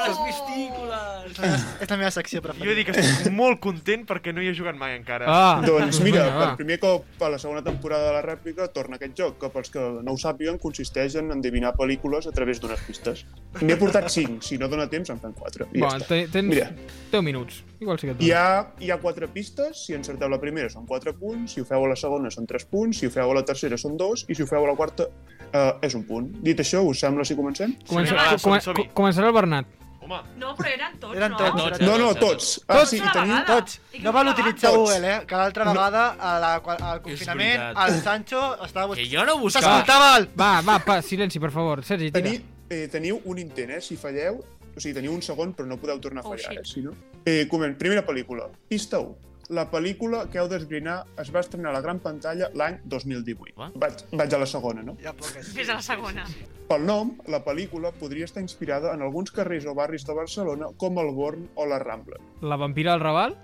Speaker 6: les pistícules!
Speaker 5: Oh, És la meva secció preferida.
Speaker 7: Jo he dit que estic molt content perquè no hi he jugat mai encara.
Speaker 1: Ah.
Speaker 8: Doncs mira, per primer cop a la segona temporada de la rèplica torna aquest joc, que pels que no ho sàpiguen consisteix en endevinar pel·lícules a través d'unes pistes. N'he portat 5, si no dóna temps en fan 4. I
Speaker 1: Bon,
Speaker 8: ja està.
Speaker 1: te- tens
Speaker 8: Mira,
Speaker 1: 10 minuts. Igual sí que et
Speaker 8: hi
Speaker 1: dono.
Speaker 8: ha, hi ha 4 pistes, si encerteu la primera són 4 punts, si ho feu a la segona són 3 punts, si ho feu a la tercera són 2 i si ho feu a la quarta eh, és un punt. Dit això, us sembla si comencem?
Speaker 1: Comença, com, com, començarà el Bernat.
Speaker 2: No, però eren tots,
Speaker 5: Eren
Speaker 2: no?
Speaker 5: tots, eren
Speaker 8: No, no, tots. Ah, sí, i tenim...
Speaker 5: Tots. No val utilitzar
Speaker 8: Tots.
Speaker 5: Google, eh? Que l'altra vegada a la, qua- al confinament
Speaker 1: veritat.
Speaker 5: el Sancho estava buscant...
Speaker 6: jo no
Speaker 5: buscava. S'escoltava el...
Speaker 2: Ah.
Speaker 1: Va, va, pa, silenci, per favor. Sergi, tira.
Speaker 8: Teni, eh, teniu un intent, eh? Si falleu, O sigui, teniu un segon, però no podeu tornar a
Speaker 2: Oh,
Speaker 8: fallar,
Speaker 2: shit.
Speaker 8: eh, si no. Eh, comen, primera pel·lícula, Pista 1. La pel·lícula que heu d'esbrinar es va estrenar a la gran pantalla l'any 2018. Vaig, vaig a la segona, no?
Speaker 2: Fes a la segona.
Speaker 8: Pel nom, la pel·lícula podria estar inspirada en alguns carrers o barris de Barcelona com el Born o la Rambla.
Speaker 1: La vampira al Raval?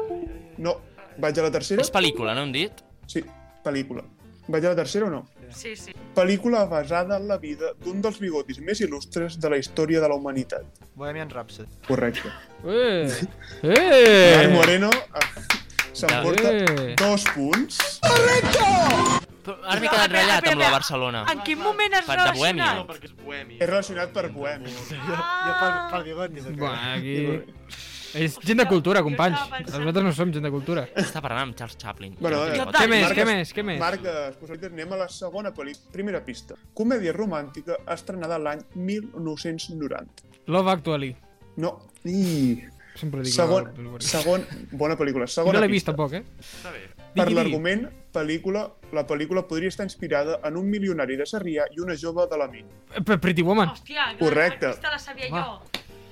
Speaker 8: No, vaig a la tercera.
Speaker 6: És pel·lícula, no hem dit?
Speaker 8: Sí, pel·lícula. Vaig a la tercera o no?
Speaker 2: Sí, sí.
Speaker 8: Pel·lícula basada en la vida d'un dels bigotis més il·lustres de la història de la humanitat.
Speaker 5: Bohemian Rhapsody.
Speaker 8: Correcte.
Speaker 1: Eh!
Speaker 8: Eh.
Speaker 1: Eh!
Speaker 8: Moreno eh, s'emporta
Speaker 1: Eh.
Speaker 8: dos punts.
Speaker 6: Però ara m'he quedat ratllat amb la Barcelona.
Speaker 2: En quin moment has
Speaker 6: Per- Ah. de Bohèmia.
Speaker 2: relacionat?
Speaker 7: perquè és bohemi.
Speaker 8: És relacionat per bohemi.
Speaker 5: Jo, jo pel,
Speaker 2: Ah!
Speaker 5: pel bigoti. perquè-
Speaker 1: Bueno, aquí... És gent de cultura, companys.
Speaker 2: estava pensant-
Speaker 1: Nosaltres no som gent de cultura.
Speaker 6: Està parlant amb Charles Chaplin.
Speaker 8: Bueno, eh,
Speaker 1: Què més,
Speaker 8: Marc,
Speaker 1: què més, què més?
Speaker 8: Marc, de responsabilitat, anem a la segona pel·lícula. Primera pista. Comèdia romàntica estrenada l'any 1990.
Speaker 1: Love Actually.
Speaker 8: No. I...
Speaker 1: Sempre dic
Speaker 8: Segon,
Speaker 1: Love Actually.
Speaker 8: segon, bona pel·lícula.
Speaker 1: Jo
Speaker 8: Segona
Speaker 1: no l'he vist,
Speaker 8: pista.
Speaker 1: tampoc, eh?
Speaker 8: Per
Speaker 1: Digui, digui.
Speaker 8: l'argument, pel·lícula, la pel·lícula podria estar inspirada en un milionari de Sarrià i una jove de la Min.
Speaker 1: Eh, Pe- Pretty Woman.
Speaker 2: Hòstia,
Speaker 8: Correcte.
Speaker 2: aquesta la sabia
Speaker 8: Va.
Speaker 2: jo.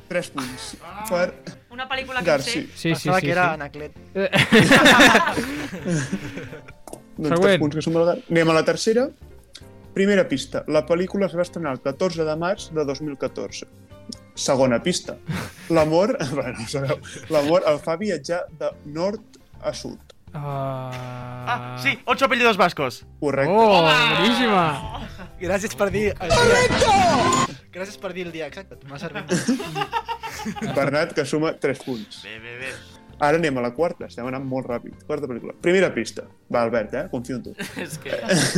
Speaker 8: Tres punts per
Speaker 2: Una pel·lícula que
Speaker 8: Garci.
Speaker 2: no
Speaker 1: Sí,
Speaker 2: sé.
Speaker 1: sí,
Speaker 5: Pensava
Speaker 1: sí.
Speaker 5: que era
Speaker 1: sí.
Speaker 5: Anaclet.
Speaker 1: Eh,
Speaker 8: Doncs tres
Speaker 1: Següent.
Speaker 8: punts que som del Gar- Anem a la tercera. Primera pista. La pel·lícula es va estrenar el 14 de març de 2014. Segona pista. L'amor... Bueno, ho sabeu. L'amor el fa viatjar de nord a sud.
Speaker 1: Ah,
Speaker 7: sí, ocho apellidos vascos.
Speaker 8: Correcte.
Speaker 1: Oh, boníssima.
Speaker 5: Gràcies per dir... el dia. Gràcies per dir el dia exacte. M'ha servit.
Speaker 8: Bernat, que suma 3 punts.
Speaker 7: Bé, bé, bé.
Speaker 8: Ara anem a la quarta, estem anant molt ràpid. Quarta pel·lícula. Primera pista. Va, Albert, eh? Confio en tu.
Speaker 6: És que...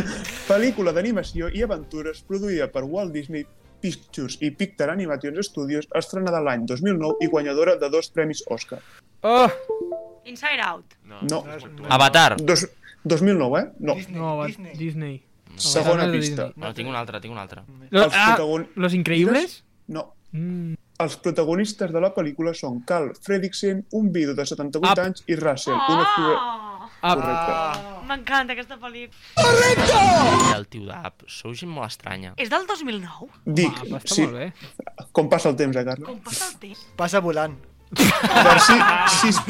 Speaker 8: pel·lícula d'animació i aventures produïda per Walt Disney Pictures i Picture Animation Studios, estrenada l'any 2009 i guanyadora de dos premis Oscar.
Speaker 1: Oh!
Speaker 2: Inside Out.
Speaker 8: No.
Speaker 6: Avatar.
Speaker 8: Dos, 2009, eh? No.
Speaker 1: No, va, Disney.
Speaker 8: Segona
Speaker 1: Avatar de
Speaker 8: pista.
Speaker 1: Disney.
Speaker 6: Bueno, tinc una altra, tinc una altra.
Speaker 1: Lo-
Speaker 8: Els
Speaker 1: ah,
Speaker 8: protagon-
Speaker 1: ¿Los Increíbles?
Speaker 8: No.
Speaker 1: Mm.
Speaker 8: Els protagonistes de la pel·lícula són Carl Fredricksen, un vidu de 78 anys, i Russell, un actor...
Speaker 1: Ah.
Speaker 8: Correcte.
Speaker 2: M'encanta aquesta pel·lícula.
Speaker 6: El tio d'App. Sou gent molt estranya.
Speaker 8: Eh.
Speaker 2: És del 2009?
Speaker 8: Dic,
Speaker 1: Ah, però està
Speaker 8: sí,
Speaker 1: molt bé.
Speaker 8: com passa el temps, eh, Carla?
Speaker 2: Com passa el temps?
Speaker 5: Passa volant.
Speaker 8: Garci, 6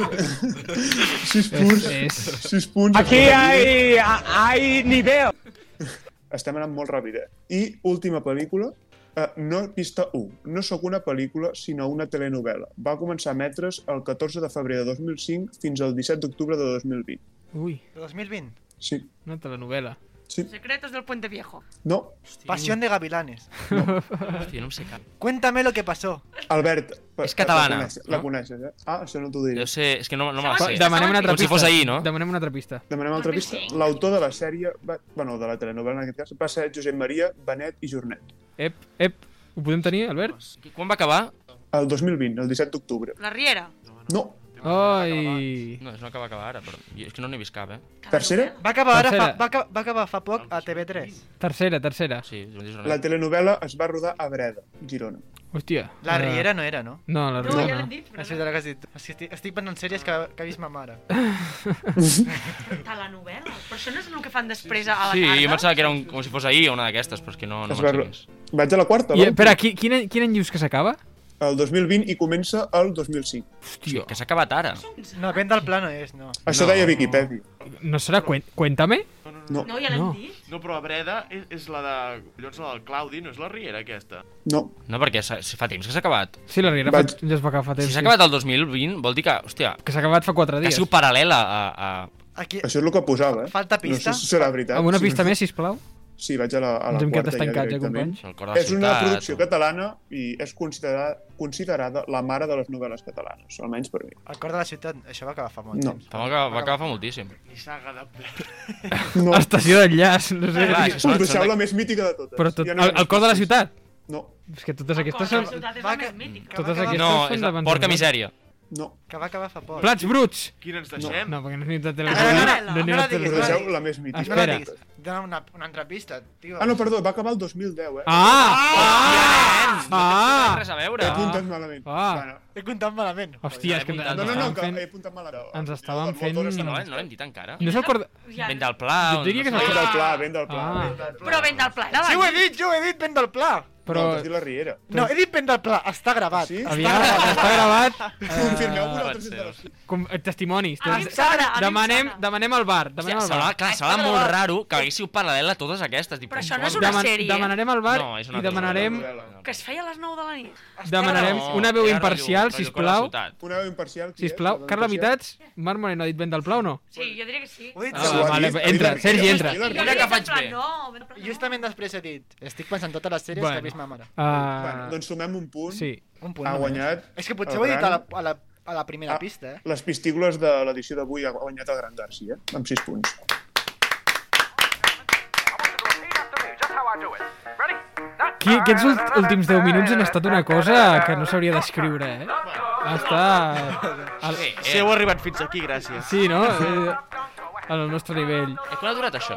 Speaker 8: sis punts.
Speaker 1: és-
Speaker 8: 6 punts.
Speaker 14: hay nivel.
Speaker 8: Estem anant molt ràpid, eh? I última pel·lícula, eh, no pista 1. No sóc una pel·lícula, sinó una telenovela. Va començar a emetre's el 14 de febrer de 2005 fins al 17 d'octubre de 2020.
Speaker 1: Uy,
Speaker 5: 2020.
Speaker 8: Sí.
Speaker 1: una telenovela.
Speaker 2: Secretos del Puente Viejo.
Speaker 8: No.
Speaker 5: Pasión de gavilanes.
Speaker 6: Hòstia, no em sé cap.
Speaker 5: Cuéntame lo que pasó.
Speaker 8: Albert, per-
Speaker 6: És catalana,
Speaker 8: la coneixes, la
Speaker 6: no?
Speaker 8: coneixes, eh? Ah, això no t'ho diré.
Speaker 6: Jo sé, és que no, no me la
Speaker 1: Va,
Speaker 6: sé.
Speaker 1: demanem una altra
Speaker 6: Com si
Speaker 1: pista.
Speaker 6: fos ahir, no?
Speaker 1: Demanem una altra pista.
Speaker 8: Demanem altra pista. L'autor de la sèrie, va... bueno, de la telenovela en aquest cas, va ser Josep Maria Benet i Jornet.
Speaker 1: Ep, ep. Ho podem tenir, Albert?
Speaker 6: Quan va acabar?
Speaker 8: El 2020, el 17 d'octubre.
Speaker 2: La Riera.
Speaker 8: No.
Speaker 1: Ai...
Speaker 6: No, és no que va acabar ara, però jo és que no n'he vist cap, eh?
Speaker 8: Tercera?
Speaker 5: Va acabar, ara fa,
Speaker 1: Tercera.
Speaker 5: va, aca- va acabar fa poc a TV3.
Speaker 1: Tercera, tercera.
Speaker 6: Sí,
Speaker 8: La telenovela es va rodar a Breda, Girona.
Speaker 1: Hòstia. Ah.
Speaker 5: La Riera no era, no?
Speaker 1: No, la
Speaker 5: No, ja
Speaker 1: Riera
Speaker 5: l'hem
Speaker 1: no.
Speaker 2: dit, però
Speaker 5: És veritat que has dit. tu. És que Estic, estic pensant en sèries que, que ha vist ma mare.
Speaker 2: Telenovel·la. Però això no és el que fan després a
Speaker 1: Ah,
Speaker 2: la
Speaker 6: Sí,
Speaker 2: tarda?
Speaker 6: jo pensava que era un, com si fos ahir o una d'aquestes, però és que no, no
Speaker 8: Es
Speaker 6: me'n
Speaker 8: va
Speaker 6: sé
Speaker 8: ro-
Speaker 6: quines.
Speaker 8: Vaig a la quarta,
Speaker 1: I,
Speaker 8: va?
Speaker 1: espera, qui, quin, any- quin any dius que s'acaba?
Speaker 8: El 2020 i comença el 2005.
Speaker 1: Hòstia.
Speaker 6: Que s'ha acabat ara.
Speaker 5: No, vent del plano és, no.
Speaker 8: Això
Speaker 6: No.
Speaker 8: deia Viquipèdia.
Speaker 1: No serà cuen Cuéntame?
Speaker 8: No,
Speaker 2: No, ja l'hem
Speaker 1: No.
Speaker 2: dit.
Speaker 7: No, però a Breda és, és la de... Collons, la del Claudi, no és la Riera aquesta.
Speaker 8: no.
Speaker 6: No, perquè s'ha- si fa temps que s'ha acabat.
Speaker 1: Sí, la Riera fa,
Speaker 8: Vaig-
Speaker 1: ja es va acabar fa temps.
Speaker 6: Si s'ha
Speaker 1: sí.
Speaker 6: acabat el 2020, vol dir que, hòstia,
Speaker 1: Que s'ha acabat fa 4
Speaker 6: que ha
Speaker 1: dies.
Speaker 6: sigut paral·lela a... a...
Speaker 5: Aquí,
Speaker 8: Això és el que posava, eh?
Speaker 5: Falta pista?
Speaker 8: No sé si serà veritat.
Speaker 1: Amb una
Speaker 8: Sí.
Speaker 1: pista més, sisplau.
Speaker 8: Sí, vaig a la, a la
Speaker 1: Ens hem quedat
Speaker 8: quarta ja
Speaker 1: estancats, eh,
Speaker 8: directament.
Speaker 1: companys?
Speaker 6: El cor de la
Speaker 8: És una
Speaker 6: ciutat,
Speaker 8: producció
Speaker 6: o-
Speaker 8: catalana i és considerada, considerada la mare de les novel·les catalanes, almenys per mi.
Speaker 5: al cor de la ciutat, això va acabar fa molt
Speaker 8: No.
Speaker 5: temps.
Speaker 6: Fa molt que va acabar fa moltíssim.
Speaker 7: Nissaga de Breda.
Speaker 8: No.
Speaker 1: Estació d'enllaç, no sé.
Speaker 6: Clar, és que són-
Speaker 8: Us deixeu
Speaker 6: són
Speaker 8: la més mítica de totes.
Speaker 1: Però tot,
Speaker 8: Ja
Speaker 1: el,
Speaker 8: no hi ha
Speaker 1: el cor de la ciutat?
Speaker 8: No,
Speaker 1: És que totes aquestes
Speaker 2: Cosa,
Speaker 1: són...
Speaker 2: la ciutat és
Speaker 5: Va
Speaker 2: la
Speaker 5: que-
Speaker 2: més mítica.
Speaker 5: Totes
Speaker 1: Totes
Speaker 5: aquestes
Speaker 1: aquestes
Speaker 6: No, és
Speaker 1: són
Speaker 6: la
Speaker 1: d'abans.
Speaker 6: porca misèria.
Speaker 8: no.
Speaker 5: Que va acabar fa poc.
Speaker 1: Plats bruts!
Speaker 7: Quina ens deixem?
Speaker 1: No, perquè no és ni de
Speaker 5: Ara,
Speaker 1: televisió.
Speaker 5: ara,
Speaker 1: No, no,
Speaker 5: no la
Speaker 1: no,
Speaker 5: diguis,
Speaker 8: Us
Speaker 1: no,
Speaker 5: ara.
Speaker 8: deixeu la més mítica.
Speaker 5: No la
Speaker 1: Espera.
Speaker 5: diguis. Dóna'm una, una altra pista, tio.
Speaker 8: Ah, no, perdó, va acabar el 2010, eh?
Speaker 1: Ah! Ah!
Speaker 6: Res a veure.
Speaker 8: Ah! T'apuntes malament.
Speaker 1: Ah.
Speaker 8: Bueno,
Speaker 5: He comptat malament.
Speaker 1: Hòstia, és que ens
Speaker 8: No, no, no,
Speaker 1: estàvem
Speaker 8: que eh,
Speaker 1: fent...
Speaker 8: he apuntat malament.
Speaker 1: Ens estàvem fent...
Speaker 6: No, no l'hem dit encara.
Speaker 1: No és el cor...
Speaker 6: Vent del Pla,
Speaker 1: Jo diria que és
Speaker 6: no
Speaker 1: el
Speaker 6: sé.
Speaker 1: Vent del Pla,
Speaker 8: Vent del Pla, Vent del
Speaker 2: Però ben del pla, era
Speaker 5: Sí, ho he
Speaker 2: abans.
Speaker 5: dit, jo ho he dit, vent del pla.
Speaker 1: Però...
Speaker 8: No, t'has dit la Riera.
Speaker 5: No, he dit vent del pla, està gravat. Sí?
Speaker 1: Aviam, eh, està gravat.
Speaker 8: Confirmeu
Speaker 1: vosaltres. Com, eh, testimonis.
Speaker 5: A mi em sona, a mi em
Speaker 1: demanem, demanem el bar. Demanem
Speaker 6: Hòstia,
Speaker 1: el bar.
Speaker 6: serà, clar, serà molt raro que haguéssiu paral·lel a totes aquestes. Tipo,
Speaker 2: Però això no és una
Speaker 6: Deman-
Speaker 2: sèrie.
Speaker 1: Demanarem el bar
Speaker 6: No, és una
Speaker 1: i demanarem,
Speaker 2: Que es feia a les 9 de la nit.
Speaker 1: demanarem
Speaker 6: No,
Speaker 1: una veu
Speaker 6: era
Speaker 1: imparcial,
Speaker 6: rotllo- rotllo
Speaker 1: sisplau.
Speaker 6: Cor de Ciutat.
Speaker 8: Una veu imparcial. qui és?
Speaker 1: Sisplau,
Speaker 8: Una veu
Speaker 1: Carla
Speaker 8: imparcial?
Speaker 1: Mitats, Marc Moreno ha dit vent del pla o no?
Speaker 2: Sí, jo diria que sí.
Speaker 5: Ho he dit
Speaker 1: Ah,
Speaker 5: segur.
Speaker 1: vale,
Speaker 5: Ho he dit,
Speaker 1: entra,
Speaker 5: ho he dit,
Speaker 1: Sergi,
Speaker 5: ho he dit,
Speaker 1: entra.
Speaker 5: ho he dit.
Speaker 2: Jo
Speaker 6: Mira que
Speaker 2: diria
Speaker 6: faig
Speaker 2: en plan,
Speaker 6: bé.
Speaker 2: No, ben del pla.
Speaker 5: Justament després he dit, estic pensant totes les sèries que ha vist ma mare.
Speaker 1: ah,
Speaker 8: Bueno, doncs sumem un punt.
Speaker 1: Sí.
Speaker 5: Un punt
Speaker 8: Ha
Speaker 5: només.
Speaker 8: guanyat.
Speaker 5: És que potser
Speaker 8: el
Speaker 5: ho he dit a la,
Speaker 8: gran-
Speaker 5: a la, a la primera
Speaker 8: Ah.
Speaker 5: pista, eh?
Speaker 8: Les pistícules de l'edició d'avui ha guanyat el Gran Garcia, amb 6 punts.
Speaker 1: Qui, aquests ult- últims 10 minuts han estat una cosa que no s'hauria d'escriure, eh? Està... El...
Speaker 7: Sí, eh. heu arribat fins aquí, gràcies.
Speaker 1: Sí, no? Eh, Al nostre nivell.
Speaker 6: Eh, Quan ha durat això?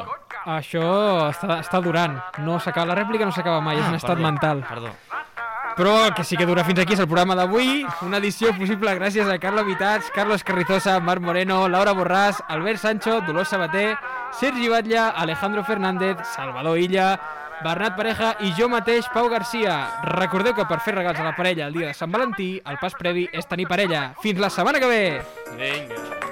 Speaker 1: Això està, està durant. No s'acaba, la rèplica no s'acaba mai, és un estat
Speaker 6: Ah, perdó,
Speaker 1: mental.
Speaker 6: Perdó.
Speaker 1: Però el que sí que dura fins aquí és el programa d'avui, una edició possible gràcies a Carla Vitats, Carlos Carrizosa, Marc Moreno, Laura Borràs, Albert Sancho, Dolors Sabater, Sergi Batlla, Alejandro Fernández, Salvador Illa, Bernat Pareja i jo mateix, Pau Garcia. Recordeu que per fer regals a la parella el dia de Sant Valentí, el pas previ és tenir parella. Fins la setmana que ve!
Speaker 6: Vinga.